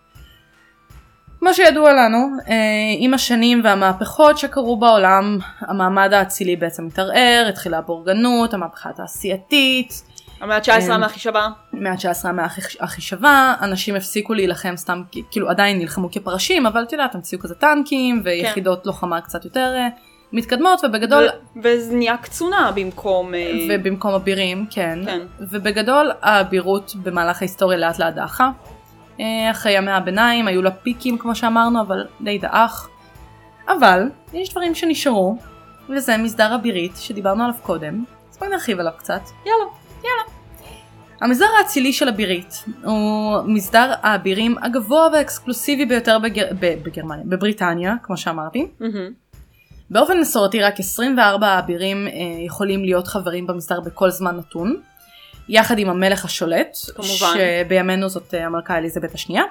Speaker 1: כמו שידוע לנו, אה, עם השנים והמהפכות שקרו בעולם, המעמד האצילי בעצם התערער, התחילה הבורגנות, המהפכה התעשייתית,
Speaker 3: המאה ה-19
Speaker 1: כן.
Speaker 3: מהחיש הבא.
Speaker 1: מאה ה-19 המאה החישבה, אנשים הפסיקו להילחם סתם, כי- כאילו עדיין נלחמו כפרשים, אבל את יודעת, המציאו כזה טנקים, ויחידות לוחמה קצת יותר אה, מתקדמות, ובגדול
Speaker 3: ו- וזה נהיה קצונה במקום... אה,
Speaker 1: ובמקום אבירים, כן.
Speaker 3: כן.
Speaker 1: ובגדול האבירות במהלך ההיסטוריה לאט לאט דעכה. אה, אחרי ימי הביניים היו לה פיקים כמו שאמרנו, אבל די דעך. אבל יש דברים שנשארו, וזה מסדר אבירית שדיברנו עליו קודם, אז בואי נרחיב עליו קצת.
Speaker 3: יאללה.
Speaker 1: המסדר האצילי של הבירית הוא מסדר האבירים הגבוה והאקסקלוסיבי ביותר בגר... ב- בגרמניה, בבריטניה, כמו שאמרתי.
Speaker 3: מהמם.
Speaker 1: באופן מסורתי רק 24 האבירים אה, יכולים להיות חברים במסדר בכל זמן נתון, יחד עם המלך השולט,
Speaker 3: כמובן.
Speaker 1: שבימינו זאת אה, המלכה אליזבת השנייה,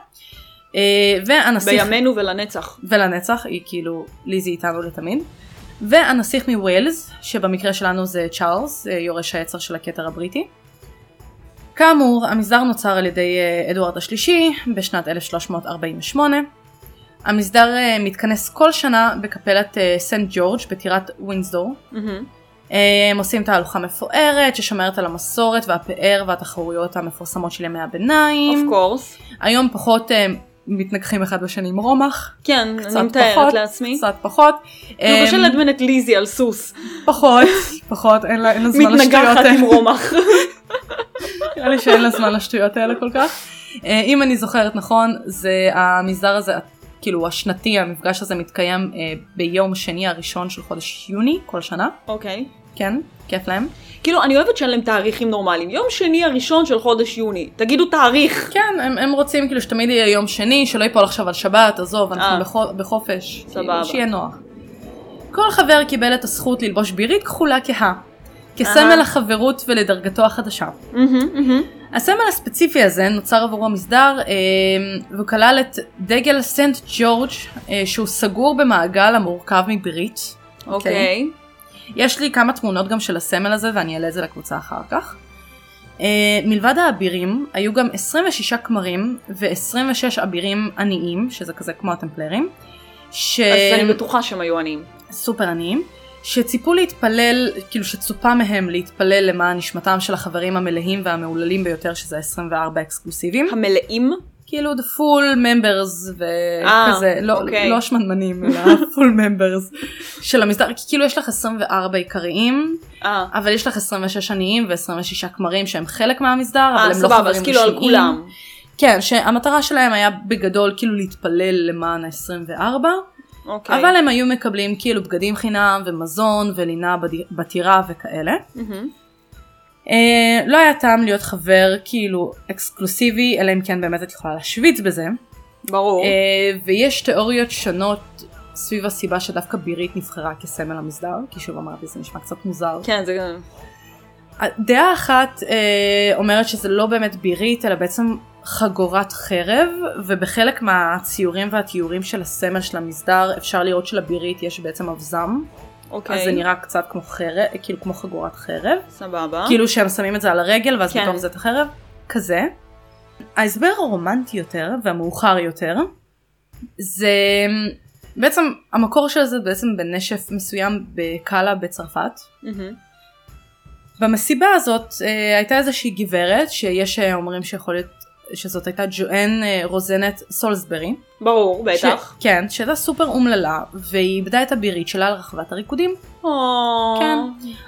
Speaker 1: אה, והנסיך,
Speaker 3: בימינו ולנצח.
Speaker 1: ולנצח, היא כאילו, ליזי איתנו לתמיד, והנסיך מווילס, שבמקרה שלנו זה צ'ארלס, אה, יורש היצר של הכתר הבריטי. כאמור, המסדר נוצר על ידי אה, אדוארד השלישי בשנת 1348. המסדר אה, מתכנס כל שנה בקפלת אה, סנט ג'ורג' בטירת ווינסדור.
Speaker 3: מהמם.
Speaker 1: אה, הם עושים תהלוכה מפוארת ששומרת על המסורת והפאר והתחרויות המפורסמות של ימי הביניים.
Speaker 3: of course.
Speaker 1: היום פחות אה, מתנגחים אחד בשני עם רומח.
Speaker 3: כן,
Speaker 1: קצת
Speaker 3: אני מתארת
Speaker 1: פחות,
Speaker 3: לעצמי.
Speaker 1: קצת פחות.
Speaker 3: כאילו
Speaker 1: אמ,
Speaker 3: קשה לדמיין את ליזי על סוס.
Speaker 1: פחות, פחות, אין לה אין לה זמן לשטויות אה.
Speaker 3: מתנגחת עם
Speaker 1: האלה.
Speaker 3: רומח.
Speaker 1: נראה לי שאין לה זמן לשטויות האלה כל כך. אה, אם אני זוכרת נכון, זה המסדר הזה, כאילו השנתי, המפגש הזה מתקיים אה, ביום שני הראשון של חודש יוני כל שנה.
Speaker 3: אוקיי.
Speaker 1: כן, כיף להם.
Speaker 3: כאילו, אני אוהבת שאין להם תאריכים נורמליים. יום שני הראשון של חודש יוני. תגידו תאריך.
Speaker 1: כן, הם, הם רוצים כאילו שתמיד יהיה יום שני, שלא ייפול עכשיו על שבת, עזוב,
Speaker 3: אה.
Speaker 1: אנחנו בחו, בחופש.
Speaker 3: סבבה.
Speaker 1: כאילו, שיהיה נוח. כל חבר קיבל את הזכות ללבוש בירית כחולה כהה, כסמל
Speaker 3: אהה.
Speaker 1: החברות ולדרגתו החדשה.
Speaker 3: מהמם, מהמם.
Speaker 1: הסמל הספציפי הזה נוצר עבור המסדר אה, והוא כלל את דגל סנט ג'ורג' אה, שהוא סגור במעגל המורכב מברית.
Speaker 3: אוקיי.
Speaker 1: יש לי כמה תמונות גם של הסמל הזה ואני אעלה את זה לקבוצה אחר כך. אה, מלבד האבירים היו גם 26 כמרים ו-26 אבירים עניים שזה כזה כמו הטמפלרים. ש...
Speaker 3: אז אני בטוחה שהם היו עניים.
Speaker 1: סופר עניים, שציפו להתפלל, כאילו שצופה מהם להתפלל למען נשמתם של החברים המלאים והמהוללים ביותר, שזה 24 אקסקלוסיביים.
Speaker 3: המלאים?
Speaker 1: כאילו the full members
Speaker 3: אה,
Speaker 1: וכזה, לא,
Speaker 3: אוקיי.
Speaker 1: לא שמנמנים, אלא full members של המסדר, כי כאילו יש לך 24 עיקריים,
Speaker 3: אה,
Speaker 1: אבל יש לך 26 עניים ו-26 כמרים שהם חלק מהמסדר, אבל
Speaker 3: אה,
Speaker 1: הם לא חברים
Speaker 3: סבבה, אז כאילו על
Speaker 1: רשמיים.
Speaker 3: כולם.
Speaker 1: כן, שהמטרה שלהם היה בגדול כאילו להתפלל למען ה-24.
Speaker 3: אוקיי.
Speaker 1: אבל הם היו מקבלים כאילו בגדים חינם ומזון ולינה בדי- בטירה וכאלה.
Speaker 3: מהמם.
Speaker 1: אה, לא היה טעם להיות חבר כאילו אקסקלוסיבי אלא אם כן באמת את יכולה להשוויץ בזה.
Speaker 3: ברור.
Speaker 1: אה, ויש תיאוריות שונות סביב הסיבה שדווקא בירית נבחרה כסמל המסדר כי שוב אמרתי זה נשמע קצת מוזר.
Speaker 3: כן, זה גם...
Speaker 1: דעה אחת אה, אומרת שזה לא באמת בירית אלא בעצם חגורת חרב ובחלק מהציורים והתיאורים של הסמל של המסדר אפשר לראות שלבירית יש בעצם אבזם
Speaker 3: אוקיי.
Speaker 1: אז זה נראה קצת כמו חרב, כאילו כמו חגורת חרב,
Speaker 3: סבבה.
Speaker 1: כאילו שהם שמים את זה על הרגל ואז
Speaker 3: אה? כן.
Speaker 1: בתוך זה את החרב, כזה. ההסבר הרומנטי יותר והמאוחר יותר, זה בעצם המקור של זה בעצם בנשף מסוים בקאלה בצרפת.
Speaker 3: מהמם.
Speaker 1: במסיבה הזאת אה, הייתה איזושהי גברת שיש אה, אומרים שיכול להיות שזאת הייתה ג'ואן אה, רוזנת סולסברי.
Speaker 3: ברור, בטח.
Speaker 1: ש... כן, שהייתה סופר אומללה והיא איבדה את הבירית שלה על רחבת הריקודים.
Speaker 3: או,
Speaker 1: כן.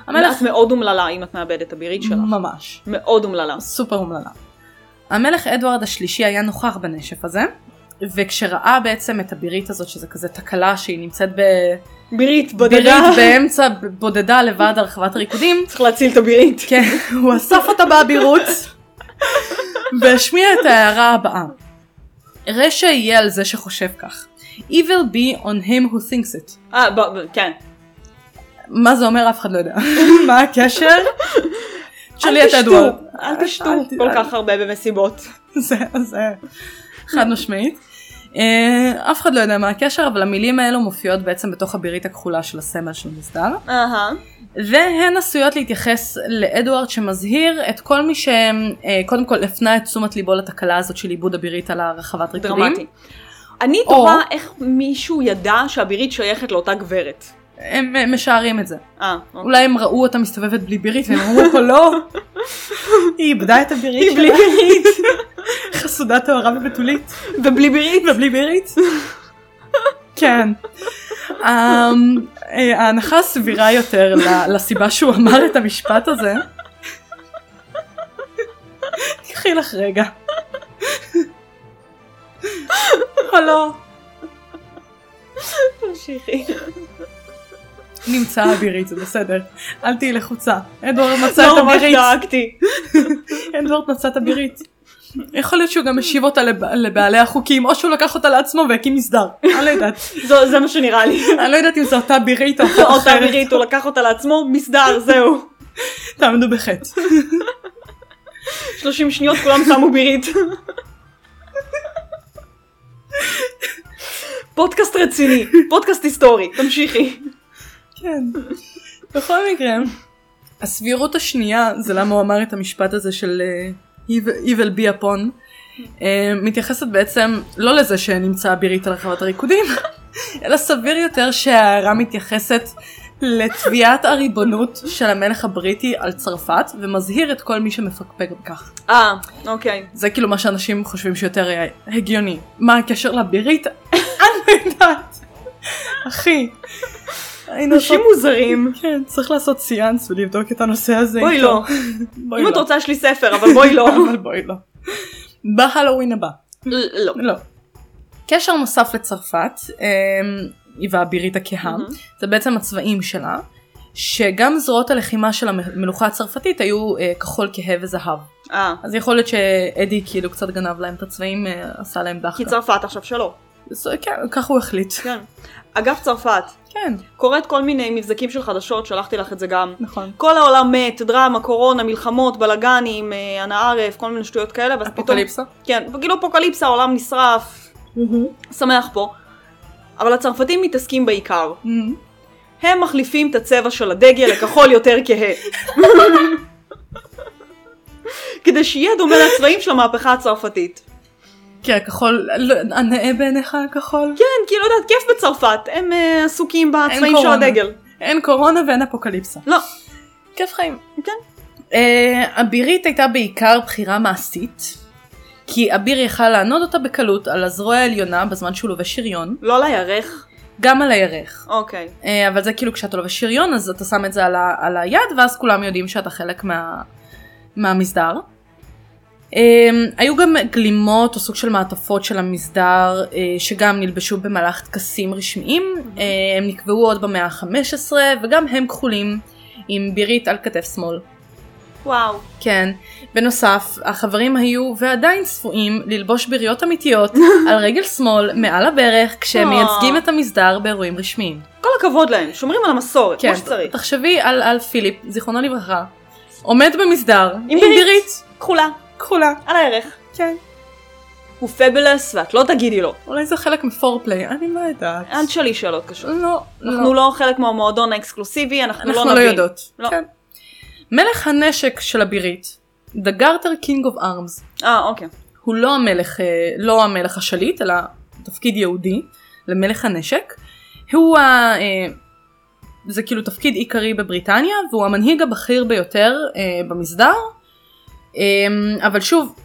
Speaker 1: המלך
Speaker 3: אה, את מאוד אומללה אם את מאבדת את הבירית שלך.
Speaker 1: ממש.
Speaker 3: מאוד אומללה.
Speaker 1: סופר אומללה. המלך אדוארד השלישי היה נוכח בנשף הזה, וכשראה בעצם את הבירית הזאת, שזה כזה תקלה שהיא נמצאת בבירית
Speaker 3: בירית בודדה.
Speaker 1: באמצע, בודדה לבד על רחבת הריקודים,
Speaker 3: צריך להציל את הבירית.
Speaker 1: כן, הוא אסף אותה באבירות, והשמיע את ההערה הבאה. רשע יהיה על זה שחושב כך. Evil be on him who thinks it.
Speaker 3: אה, ב- ב- כן.
Speaker 1: מה זה אומר אף אחד לא יודע. מה הקשר? שלי את
Speaker 3: תשתו,
Speaker 1: אדוארד.
Speaker 3: אל תשתו
Speaker 1: אל ת-
Speaker 3: כל
Speaker 1: אל-
Speaker 3: כך הרבה במסיבות.
Speaker 1: זה, זה, חד משמעית. אה, אף אחד לא יודע מה הקשר, אבל המילים האלו מופיעות בעצם בתוך הבירית הכחולה של הסמל של מסדר.
Speaker 3: אהה.
Speaker 1: והן עשויות להתייחס לאדוארד שמזהיר את כל מי שקודם כל הפנה את תשומת ליבו לתקלה הזאת של עיבוד הבירית על הרחבת ריקודים.
Speaker 3: דרמטי. אני
Speaker 1: או-
Speaker 3: תוהה איך מישהו ידע שהבירית שייכת לאותה גברת.
Speaker 1: הם אה, משערים את זה.
Speaker 3: אה, אוקיי.
Speaker 1: אולי הם ראו אותה מסתובבת בלי בירית והם אמרו פה לא. היא איבדה את הבירית
Speaker 3: היא בלי בירית,
Speaker 1: חסודה טהורה ובתולית.
Speaker 3: ובלי בירית.
Speaker 1: ובלי בירית? כן. אמ, אה, ההנחה הסבירה יותר ל- לסיבה שהוא אמר את המשפט הזה. תקחי לך רגע. או לא.
Speaker 3: תמשיכי.
Speaker 1: נמצאה הבירית, זה בסדר. אל תהיי לחוצה. אדוארד מצא את
Speaker 3: לא ממש
Speaker 1: הבירית.
Speaker 3: דאגתי.
Speaker 1: אדוארד מצא כן, את הבירית. יכול להיות שהוא גם השיב אותה לב- לבעלי החוקים, או שהוא לקח אותה לעצמו והקים מסדר. אני לא יודעת.
Speaker 3: זו- זה מה שנראה לי.
Speaker 1: אני לא יודעת אם זו אותה בירית או אחת
Speaker 3: אותה
Speaker 1: אחרת.
Speaker 3: בירית, הוא לקח אותה לעצמו, מסדר, זהו.
Speaker 1: תעמדו בחטא.
Speaker 3: 30 שניות כולם שמו בירית. פודקאסט רציני, פודקאסט היסטורי, תמשיכי.
Speaker 1: כן. בכל מקרה, הסבירות השנייה זה למה הוא אמר את המשפט הזה של אה, "Evil- evil be upon, אה, מתייחסת בעצם לא לזה שנמצא אבירית על רחבת הריקודים, אלא סביר יותר שההערה מתייחסת לתביעת הריבונות של המלך הבריטי על צרפת ומזהיר את כל מי שמפקפק בכך.
Speaker 3: אה, אוקיי.
Speaker 1: זה כאילו מה שאנשים חושבים שיותר אה, הגיוני. מה הקשר לבירית? אני לא יודעת. אחי. היינו
Speaker 3: אנשים
Speaker 1: עושות-
Speaker 3: מוזרים.
Speaker 1: כן, צריך לעשות סיאנס ולבדוק את הנושא הזה.
Speaker 3: בואי
Speaker 1: איתו.
Speaker 3: לא.
Speaker 1: בואי
Speaker 3: אם
Speaker 1: לא.
Speaker 3: את רוצה יש לי ספר, אבל בואי לא.
Speaker 1: אבל בואי לא. בהלואוין הבא.
Speaker 3: ל- לא.
Speaker 1: לא. קשר נוסף לצרפת, אמ, היא והבירית הכהה,
Speaker 3: מהמם.
Speaker 1: זה בעצם הצבעים שלה, שגם זרועות הלחימה של המלוכה הצרפתית היו אה, כחול כהה וזהב.
Speaker 3: אה.
Speaker 1: אז יכול להיות שאדי כאילו קצת גנב להם את הצבעים, אה, עשה להם
Speaker 3: כי
Speaker 1: דחקה.
Speaker 3: צרפת עכשיו שלא.
Speaker 1: זה- כן, כך הוא החליט.
Speaker 3: כן. אגב צרפת,
Speaker 1: כן,
Speaker 3: קוראת כל מיני מבזקים של חדשות, שלחתי לך את זה גם.
Speaker 1: נכון.
Speaker 3: כל העולם מת, דרמה, קורונה, מלחמות, בלאגנים, אה, אנא ערף, כל מיני שטויות כאלה, ואז פתאום...
Speaker 1: אפוקליפסה?
Speaker 3: כן, כאילו אפוקליפסה, העולם נשרף, שמח פה. אבל הצרפתים מתעסקים בעיקר.
Speaker 1: מהמם.
Speaker 3: הם מחליפים את הצבע של הדגל לכחול יותר כהה. כדי שיהיה דומה לצבעים של המהפכה הצרפתית.
Speaker 1: כן, הכחול, לא, הנאה בעיניך הכחול?
Speaker 3: כן, כאילו, יודעת, כיף בצרפת, הם אה, עסוקים בצבעים של
Speaker 1: קורונה.
Speaker 3: הדגל.
Speaker 1: אין קורונה ואין אפוקליפסה.
Speaker 3: לא,
Speaker 1: כיף חיים.
Speaker 3: כן.
Speaker 1: Uh, הבירית הייתה בעיקר בחירה מעשית, כי אביר יכל לענוד אותה בקלות על הזרוע העליונה בזמן שהוא לובש שריון,
Speaker 3: לא על הירך.
Speaker 1: גם על הירך.
Speaker 3: אוקיי.
Speaker 1: Uh, אבל זה כאילו כשאתה לובש שריון אז אתה שם את זה על, ה- על היד ואז כולם יודעים שאתה חלק מה, מהמסדר. Um, היו גם גלימות או סוג של מעטפות של המסדר uh, שגם נלבשו במהלך טקסים רשמיים, uh, הם נקבעו עוד במאה ה-15 וגם הם כחולים עם בירית על כתף שמאל.
Speaker 3: וואו.
Speaker 1: כן. בנוסף, החברים היו ועדיין צפויים ללבוש בריות אמיתיות על רגל שמאל מעל הברך כשהם
Speaker 3: אה.
Speaker 1: מייצגים את המסדר באירועים רשמיים.
Speaker 3: כל הכבוד להם, שומרים על המסורת,
Speaker 1: כן,
Speaker 3: כמו שצריך.
Speaker 1: תחשבי על, על פיליפ, זיכרונו לברכה, עומד במסדר עם
Speaker 3: בירית.
Speaker 1: בירית
Speaker 3: כחולה,
Speaker 1: כחולה.
Speaker 3: על הערך.
Speaker 1: כן.
Speaker 3: הוא פבלס, ואת לא תגידי לו.
Speaker 1: אולי זה חלק מפורפליי, אני לא יודעת.
Speaker 3: אל תשאלי שאלות קשות.
Speaker 1: לא,
Speaker 3: אנחנו לא חלק מהמועדון האקסקלוסיבי, אנחנו לא נבין.
Speaker 1: אנחנו לא יודעות.
Speaker 3: לא.
Speaker 1: כן. מלך הנשק של הבירית, The Garter King of Arms,
Speaker 3: אה, אוקיי.
Speaker 1: הוא לא המלך, אה, לא המלך השליט, אלא תפקיד יהודי למלך הנשק. הוא ה... אה, זה כאילו תפקיד עיקרי בבריטניה, והוא המנהיג הבכיר ביותר אה, במסדר. אה, אבל שוב,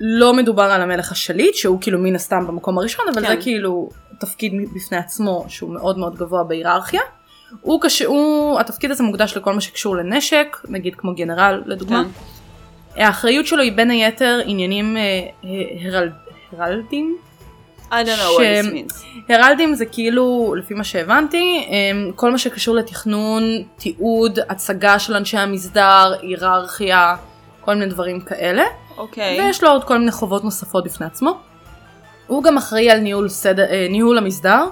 Speaker 1: לא מדובר על המלך השליט, שהוא כאילו מן הסתם במקום הראשון, אבל
Speaker 3: כן.
Speaker 1: זה כאילו תפקיד בפני עצמו שהוא מאוד מאוד גבוה בהיררכיה. הוא קש... הוא... התפקיד הזה מוקדש לכל מה שקשור לנשק, נגיד כמו גנרל לדוגמה.
Speaker 3: כן.
Speaker 1: האחריות שלו היא בין היתר עניינים אה, ה- הרל... הרלדים?
Speaker 3: I don't know what this
Speaker 1: ש-
Speaker 3: means.
Speaker 1: הרלדים זה כאילו, לפי מה שהבנתי, אה, כל מה שקשור לתכנון, תיעוד, הצגה של אנשי המסדר, היררכיה, כל מיני דברים כאלה.
Speaker 3: אוקיי.
Speaker 1: ויש לו עוד כל מיני חובות נוספות בפני עצמו. הוא גם אחראי על ניהול, סדר, אה, ניהול המסדר,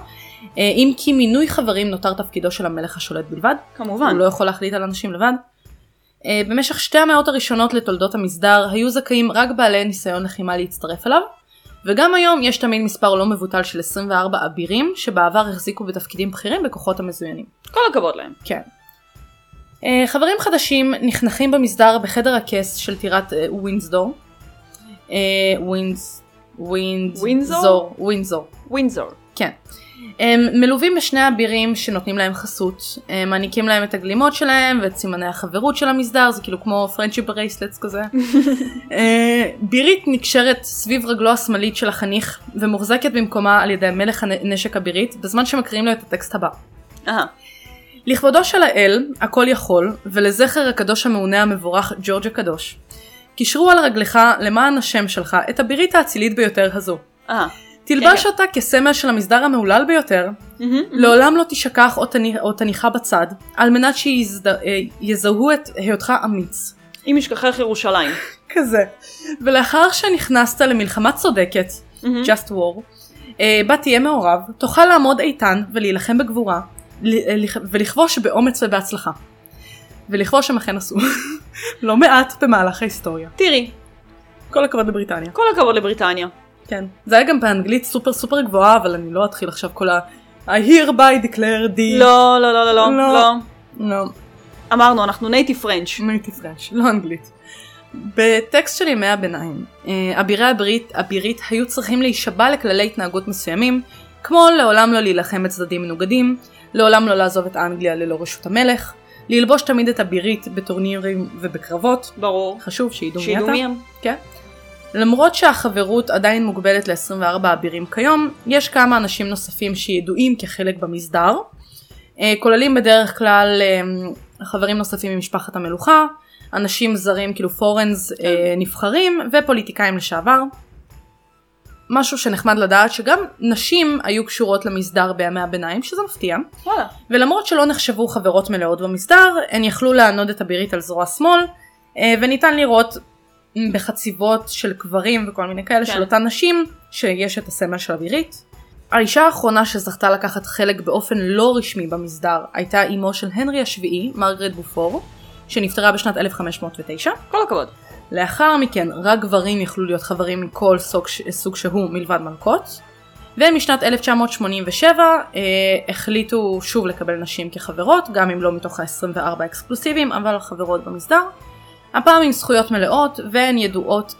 Speaker 1: אה, אם כי מינוי חברים נותר תפקידו של המלך השולט בלבד,
Speaker 3: כמובן.
Speaker 1: הוא לא יכול להחליט על אנשים לבד. אה, במשך שתי המאות הראשונות לתולדות המסדר היו זכאים רק בעלי ניסיון לחימה להצטרף אליו, וגם היום יש תמיד מספר לא מבוטל של 24 אבירים שבעבר החזיקו בתפקידים בכירים בכוחות המזוינים.
Speaker 3: כל הכבוד להם.
Speaker 1: כן. אה, חברים חדשים נחנכים במסדר בחדר הכס של טירת אה, ווינזדור. אה, ווינז... ווינד...
Speaker 3: ווינזור?
Speaker 1: זור- ווינזור.
Speaker 3: ווינזור.
Speaker 1: כן. הם מלווים בשני אבירים שנותנים להם חסות, הם מעניקים להם את הגלימות שלהם ואת סימני החברות של המסדר, זה כאילו כמו פרנצ'יפ ברייסלטס כזה. אה, בירית נקשרת סביב רגלו השמאלית של החניך ומוחזקת במקומה על ידי מלך הנשק הבירית, בזמן שמקריאים לו את הטקסט הבא.
Speaker 3: אהה.
Speaker 1: לכבודו של האל, הכל יכול, ולזכר הקדוש המעונה המבורך ג'ורג' הקדוש. קישרו על רגליך למען השם שלך את הבירית האצילית ביותר הזו.
Speaker 3: אהה.
Speaker 1: תלבש
Speaker 3: כן.
Speaker 1: אותה כסמל של המסדר המהולל ביותר,
Speaker 3: מהמם.
Speaker 1: לעולם לא תשכח או תני- או תניחה בצד, על מנת שיזהו את היותך אמיץ.
Speaker 3: אם אשכחך ירושלים.
Speaker 1: כזה. ולאחר שנכנסת למלחמה צודקת,
Speaker 3: מהמם.
Speaker 1: just war, אה, בה תהיה מעורב, תוכל לעמוד איתן ולהילחם בגבורה, ל- אה, לכ- ולכבוש באומץ ובהצלחה. ולכבוש הם אכן עשו. לא מעט במהלך ההיסטוריה.
Speaker 3: תראי,
Speaker 1: כל הכבוד לבריטניה.
Speaker 3: כל הכבוד לבריטניה.
Speaker 1: כן. זה היה גם באנגלית סופר סופר גבוהה, אבל אני לא אתחיל עכשיו כל ה... I hereby declare thee.
Speaker 3: לא, לא, לא, לא, לא,
Speaker 1: לא.
Speaker 3: לא.
Speaker 1: לא.
Speaker 3: אמרנו, אנחנו נייטיב פרנץ'.
Speaker 1: native French, לא אנגלית. בטקסט של ימי הביניים, אה, אבירי הברית, הבירית היו צריכים להישבע לכללי התנהגות מסוימים, כמו לעולם לא להילחם בצדדים מנוגדים, לעולם לא לעזוב את אנגליה ללא רשות המלך, ללבוש תמיד את הבירית בטורנירים ובקרבות,
Speaker 3: ברור.
Speaker 1: חשוב שידעו מי
Speaker 3: שידעו
Speaker 1: אתה.
Speaker 3: מי הם.
Speaker 1: למרות שהחברות עדיין מוגבלת ל-24 אבירים כיום, יש כמה אנשים נוספים שידועים כחלק במסדר. אה, כוללים בדרך כלל אה, חברים נוספים ממשפחת המלוכה, אנשים זרים כאילו פורנס אה, נבחרים ופוליטיקאים לשעבר. משהו שנחמד לדעת שגם נשים היו קשורות למסדר בימי הביניים שזה מפתיע.
Speaker 3: וואלה.
Speaker 1: ולמרות שלא נחשבו חברות מלאות במסדר, הן יכלו לענוד את הבירית על זרוע שמאל, אה, וניתן לראות בחציבות של קברים וכל מיני כאלה
Speaker 3: כן.
Speaker 1: של אותן נשים, שיש את הסמל של הבירית. האישה האחרונה שזכתה לקחת חלק באופן לא רשמי במסדר הייתה אמו של הנרי השביעי, מרגרט בופור, שנפטרה בשנת 1509.
Speaker 3: כל הכבוד.
Speaker 1: לאחר מכן רק גברים יכלו להיות חברים מכל סוג, ש- סוג שהוא מלבד מלכות. ומשנת 1987 אה, החליטו שוב לקבל נשים כחברות, גם אם לא מתוך ה-24 האקסקלוסיביים, אבל חברות במסדר. הפעם עם זכויות מלאות, והן ידועות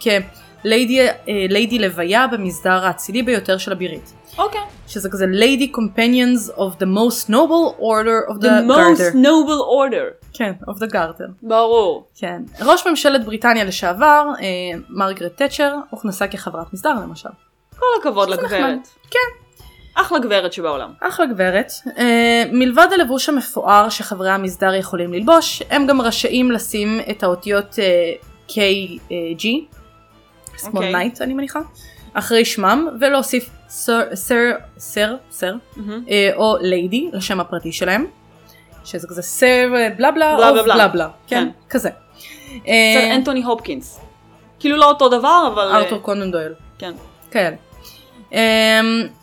Speaker 1: כליידי אה, ליידי לוויה במסדר האצילי ביותר של הבירית.
Speaker 3: אוקיי.
Speaker 1: שזה כזה Lady Companions of the most noble order of the,
Speaker 3: The most
Speaker 1: garter.
Speaker 3: noble order.
Speaker 1: כן, of the garter.
Speaker 3: ברור.
Speaker 1: כן. ראש ממשלת בריטניה לשעבר, אה, מרגרט תאצ'ר, הוכנסה כחברת מסדר למשל.
Speaker 3: כל הכבוד
Speaker 1: שזה
Speaker 3: לגברת. כן. אחלה גברת שבעולם.
Speaker 1: אחלה גברת. אה, מלבד הלבוש המפואר שחברי המסדר יכולים ללבוש, הם גם רשאים לשים את האותיות אה, KG, סמול
Speaker 3: אוקיי.
Speaker 1: נייט אני מניחה, אחרי שמם, ולהוסיף סר, סר, סר, סר,
Speaker 3: מהמם.
Speaker 1: אה, או ליידי, לשם הפרטי שלהם. שזה כזה סר אה, בלה בלה,
Speaker 3: בלה,
Speaker 1: או
Speaker 3: בלה, בלה.
Speaker 1: בלה בלה, כן, כזה. אה,
Speaker 3: סר אנטוני הופקינס. כאילו לא אותו דבר, אבל... אה,
Speaker 1: ארתור קונן דואל.
Speaker 3: כן.
Speaker 1: כן. Um,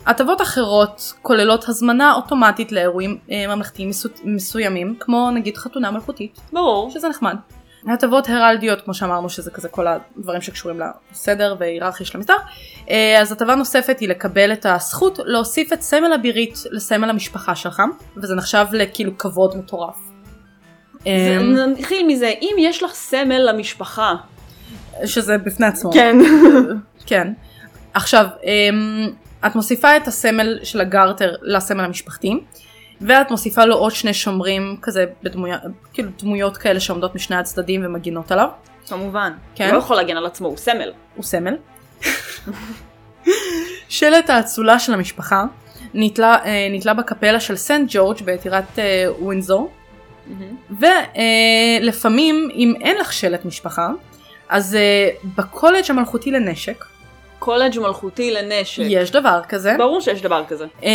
Speaker 1: הטבות אחרות כוללות הזמנה אוטומטית לאירועים אה, ממלכתיים מסו- מסוימים, כמו נגיד חתונה מלכותית,
Speaker 3: ברור.
Speaker 1: שזה נחמד. הטבות heraldיות, כמו שאמרנו, שזה כזה כל הדברים שקשורים לסדר והיררכיה של המסדר. אה, אז הטבה נוספת היא לקבל את הזכות להוסיף את סמל הבירית לסמל המשפחה שלך, וזה נחשב לכאילו כבוד מטורף.
Speaker 3: זה-
Speaker 1: אמ,
Speaker 3: נתחיל מזה, אם יש לך סמל למשפחה.
Speaker 1: כן. שזה בפני עצמו.
Speaker 3: כן.
Speaker 1: כן. עכשיו, אמ, את מוסיפה את הסמל של הגרטר לסמל המשפחתי, ואת מוסיפה לו עוד שני שומרים כזה בדמויות, כאילו דמויות כאלה שעומדות משני הצדדים ומגינות עליו,
Speaker 3: כמובן.
Speaker 1: כן.
Speaker 3: הוא לא יכול להגן על עצמו, הוא סמל.
Speaker 1: הוא סמל. שלט האצולה של המשפחה נתלה, אה, נתלה בקפלה של סנט ג'ורג' בטירת אה, ווינזור, ולפעמים אם אין לך שלט משפחה, אז אה, בקולג' המלכותי לנשק,
Speaker 3: קולג' מלכותי לנשק.
Speaker 1: יש דבר כזה.
Speaker 3: כן. ברור שיש דבר כזה.
Speaker 1: אה,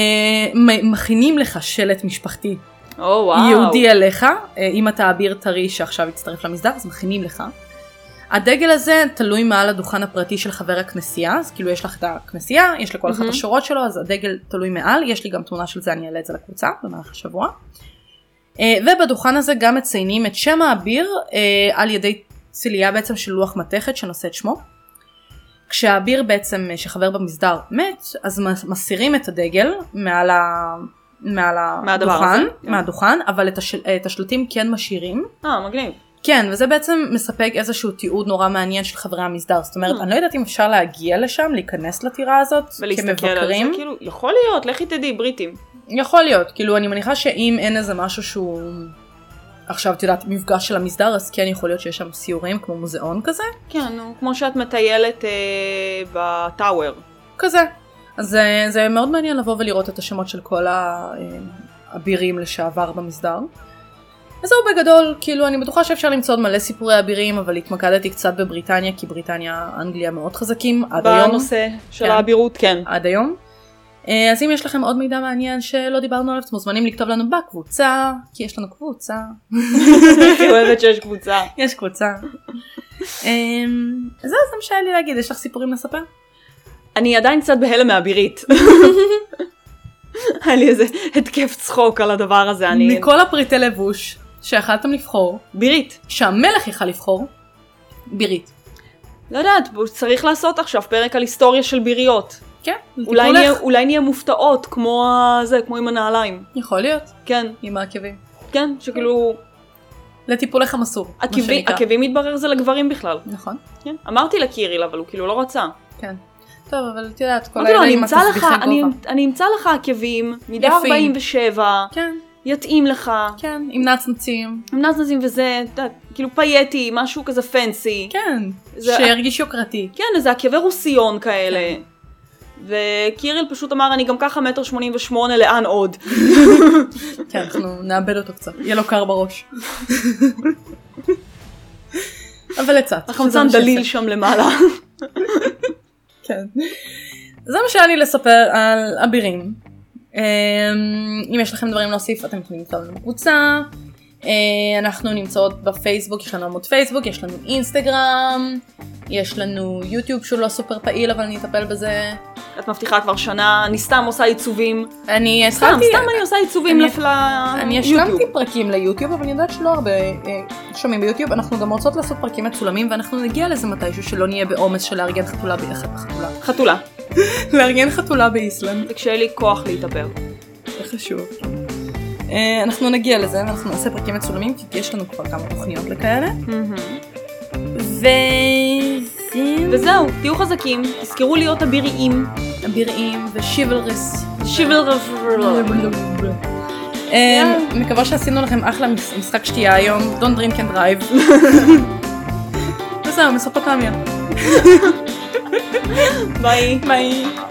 Speaker 1: מ- מכינים לך שלט משפחתי
Speaker 3: או וואו.
Speaker 1: יהודי עליך, אה, אם אתה אביר טרי שעכשיו הצטרף למסדר, אז מכינים לך. הדגל הזה תלוי מעל הדוכן הפרטי של חבר הכנסייה, אז כאילו יש לך את הכנסייה, יש לכל אחד
Speaker 3: מהמם.
Speaker 1: השורות שלו, אז הדגל תלוי מעל, יש לי גם תמונה של זה, אני אעלה את זה לקבוצה במהלך השבוע. אה, ובדוכן הזה גם מציינים את שם האביר אה, על ידי צליה בעצם של לוח מתכת שנושא את שמו. כשהאביר בעצם אה, שחבר במסדר מת אז מס- מסירים את הדגל מעל, ה... מעל
Speaker 3: מהדבר הזה,
Speaker 1: הדוכן,
Speaker 3: כן.
Speaker 1: מהדוכן אבל את, השל... את השלטים כן משאירים
Speaker 3: אה, מגניב.
Speaker 1: כן, וזה בעצם מספק איזשהו תיעוד נורא מעניין של חברי המסדר. זאת
Speaker 3: Hmm.
Speaker 1: אומרת, אני לא יודעת אם אפשר להגיע לשם, להיכנס לטירה הזאת,
Speaker 3: ולהסתכל על זה,
Speaker 1: כמבקרים.
Speaker 3: כאילו, יכול להיות, לכי תדעי, בריטים.
Speaker 1: יכול להיות, כאילו, אני מניחה שאם אין איזה משהו שהוא... עכשיו, את יודעת, מפגש של המסדר, אז כן יכול להיות שיש שם סיורים, כמו מוזיאון כזה.
Speaker 3: כן, נו, כמו שאת מטיילת אה, בטאוור.
Speaker 1: כזה. אז אה, זה מאוד מעניין לבוא ולראות את השמות של כל ה- אה, אבירים לשעבר במסדר. אז זהו בגדול, כאילו אני בטוחה שאפשר למצוא עוד מלא סיפורי אבירים, אבל התמקדתי קצת בבריטניה, כי בריטניה, אנגליה מאוד חזקים, עד היום.
Speaker 3: בנושא של
Speaker 1: כן.
Speaker 3: האבירות, כן.
Speaker 1: עד היום. אה, אז אם יש לכם עוד מידע מעניין שלא דיברנו עליו, אתם מוזמנים לכתוב לנו בקבוצה, כי יש לנו קבוצה.
Speaker 3: הכי אוהבת שיש קבוצה.
Speaker 1: יש קבוצה. אמ, זהו, זה מה שהיה לי להגיד, יש לך סיפורים לספר?
Speaker 3: אני עדיין קצת בהלם מהבירית. היה לי איזה התקף צחוק על הדבר הזה, אני...
Speaker 1: מכל הפריטי לבוש שיכלתם לבחור,
Speaker 3: בירית.
Speaker 1: שהמלך יכל לבחור, בירית.
Speaker 3: לא יודעת, בוא- צריך לעשות עכשיו פרק על היסטוריה של ביריות.
Speaker 1: כן,
Speaker 3: אולי
Speaker 1: טיפולך.
Speaker 3: נהיה- אולי נהיה מופתעות, כמו ה- זה, כמו עם הנעליים.
Speaker 1: יכול להיות,
Speaker 3: כן,
Speaker 1: עם העקבים.
Speaker 3: כן, שכאילו,
Speaker 1: לטיפולך המסור, מה
Speaker 3: עקבי-
Speaker 1: שנקרא.
Speaker 3: עקבים מתברר זה לגברים בכלל.
Speaker 1: נכון,
Speaker 3: כן. אמרתי לקיריל, אבל הוא כאילו לא רצה.
Speaker 1: כן. טוב, אבל את יודעת, כל
Speaker 3: אמרתי
Speaker 1: האלה
Speaker 3: לו, לא, אני
Speaker 1: עם
Speaker 3: אמצא לך,
Speaker 1: התסביכי
Speaker 3: אני-
Speaker 1: גובה.
Speaker 3: אני אמצא לך עקבים, מידה
Speaker 1: יפים.
Speaker 3: 47,
Speaker 1: כן,
Speaker 3: יתאים לך,
Speaker 1: כן, עם נצנצים.
Speaker 3: עם נזנזים וזה, את יודעת, כאילו פייטי, משהו כזה פנסי.
Speaker 1: כן,
Speaker 3: זה-
Speaker 1: שירגיש יוקרתי.
Speaker 3: כן, איזה עקבי רוסיון כאלה. וקיריל פשוט אמר, אני גם ככה מטר שמונים ושמונה, לאן עוד?
Speaker 1: כן, אנחנו נאבד אותו קצת, יהיה לו קר בראש. אבל הצעת.
Speaker 3: החמצן
Speaker 1: שזה מה
Speaker 3: דליל
Speaker 1: שיפה.
Speaker 3: שם למעלה.
Speaker 1: כן. זה מה שהיה לי לספר על אבירים. אמ, אם יש לכם דברים להוסיף, אתם יכולים לכתוב לנו בקבוצה. אה, אנחנו נמצאות בפייסבוק, יש לנו עמוד פייסבוק, יש לנו אינסטגרם, יש לנו יוטיוב שהוא לא סופר פעיל, אבל אני אטפל בזה.
Speaker 3: את מבטיחה כבר שנה, אני סתם עושה עיצובים.
Speaker 1: אני
Speaker 3: סתם,
Speaker 1: התחלתי,
Speaker 3: סתם אני עושה עיצובים
Speaker 1: אני-
Speaker 3: לפ- ליוטיוב.
Speaker 1: אני השלמתי פרקים ליוטיוב, אבל אני יודעת שלא הרבה אה, שומעים ביוטיוב. אנחנו גם רוצות לעשות פרקים מצולמים, ואנחנו נגיע לזה מתישהו, שלא נהיה בעומס של לארגן חתולה ב- חתולה.
Speaker 3: חתולה.
Speaker 1: לארגן חתולה באיסלנד.
Speaker 3: זה כשאין לי כוח להתאפר.
Speaker 1: זה חשוב. אה, אנחנו נגיע לזה, ואנחנו נעשה פרקים מצולמים, כי יש לנו כבר כמה תוכניות לכאלה. ו...
Speaker 3: וזהו, תהיו חזקים, תזכרו להיות אביריים.
Speaker 1: אביריים ושיבלרס.
Speaker 3: שיבל רב...
Speaker 1: אה, מקווה שעשינו לכם אחלה מש- משחק שתייה היום, Don't drink and drive. וזהו, מסופוטמיה.
Speaker 3: ביי. ביי.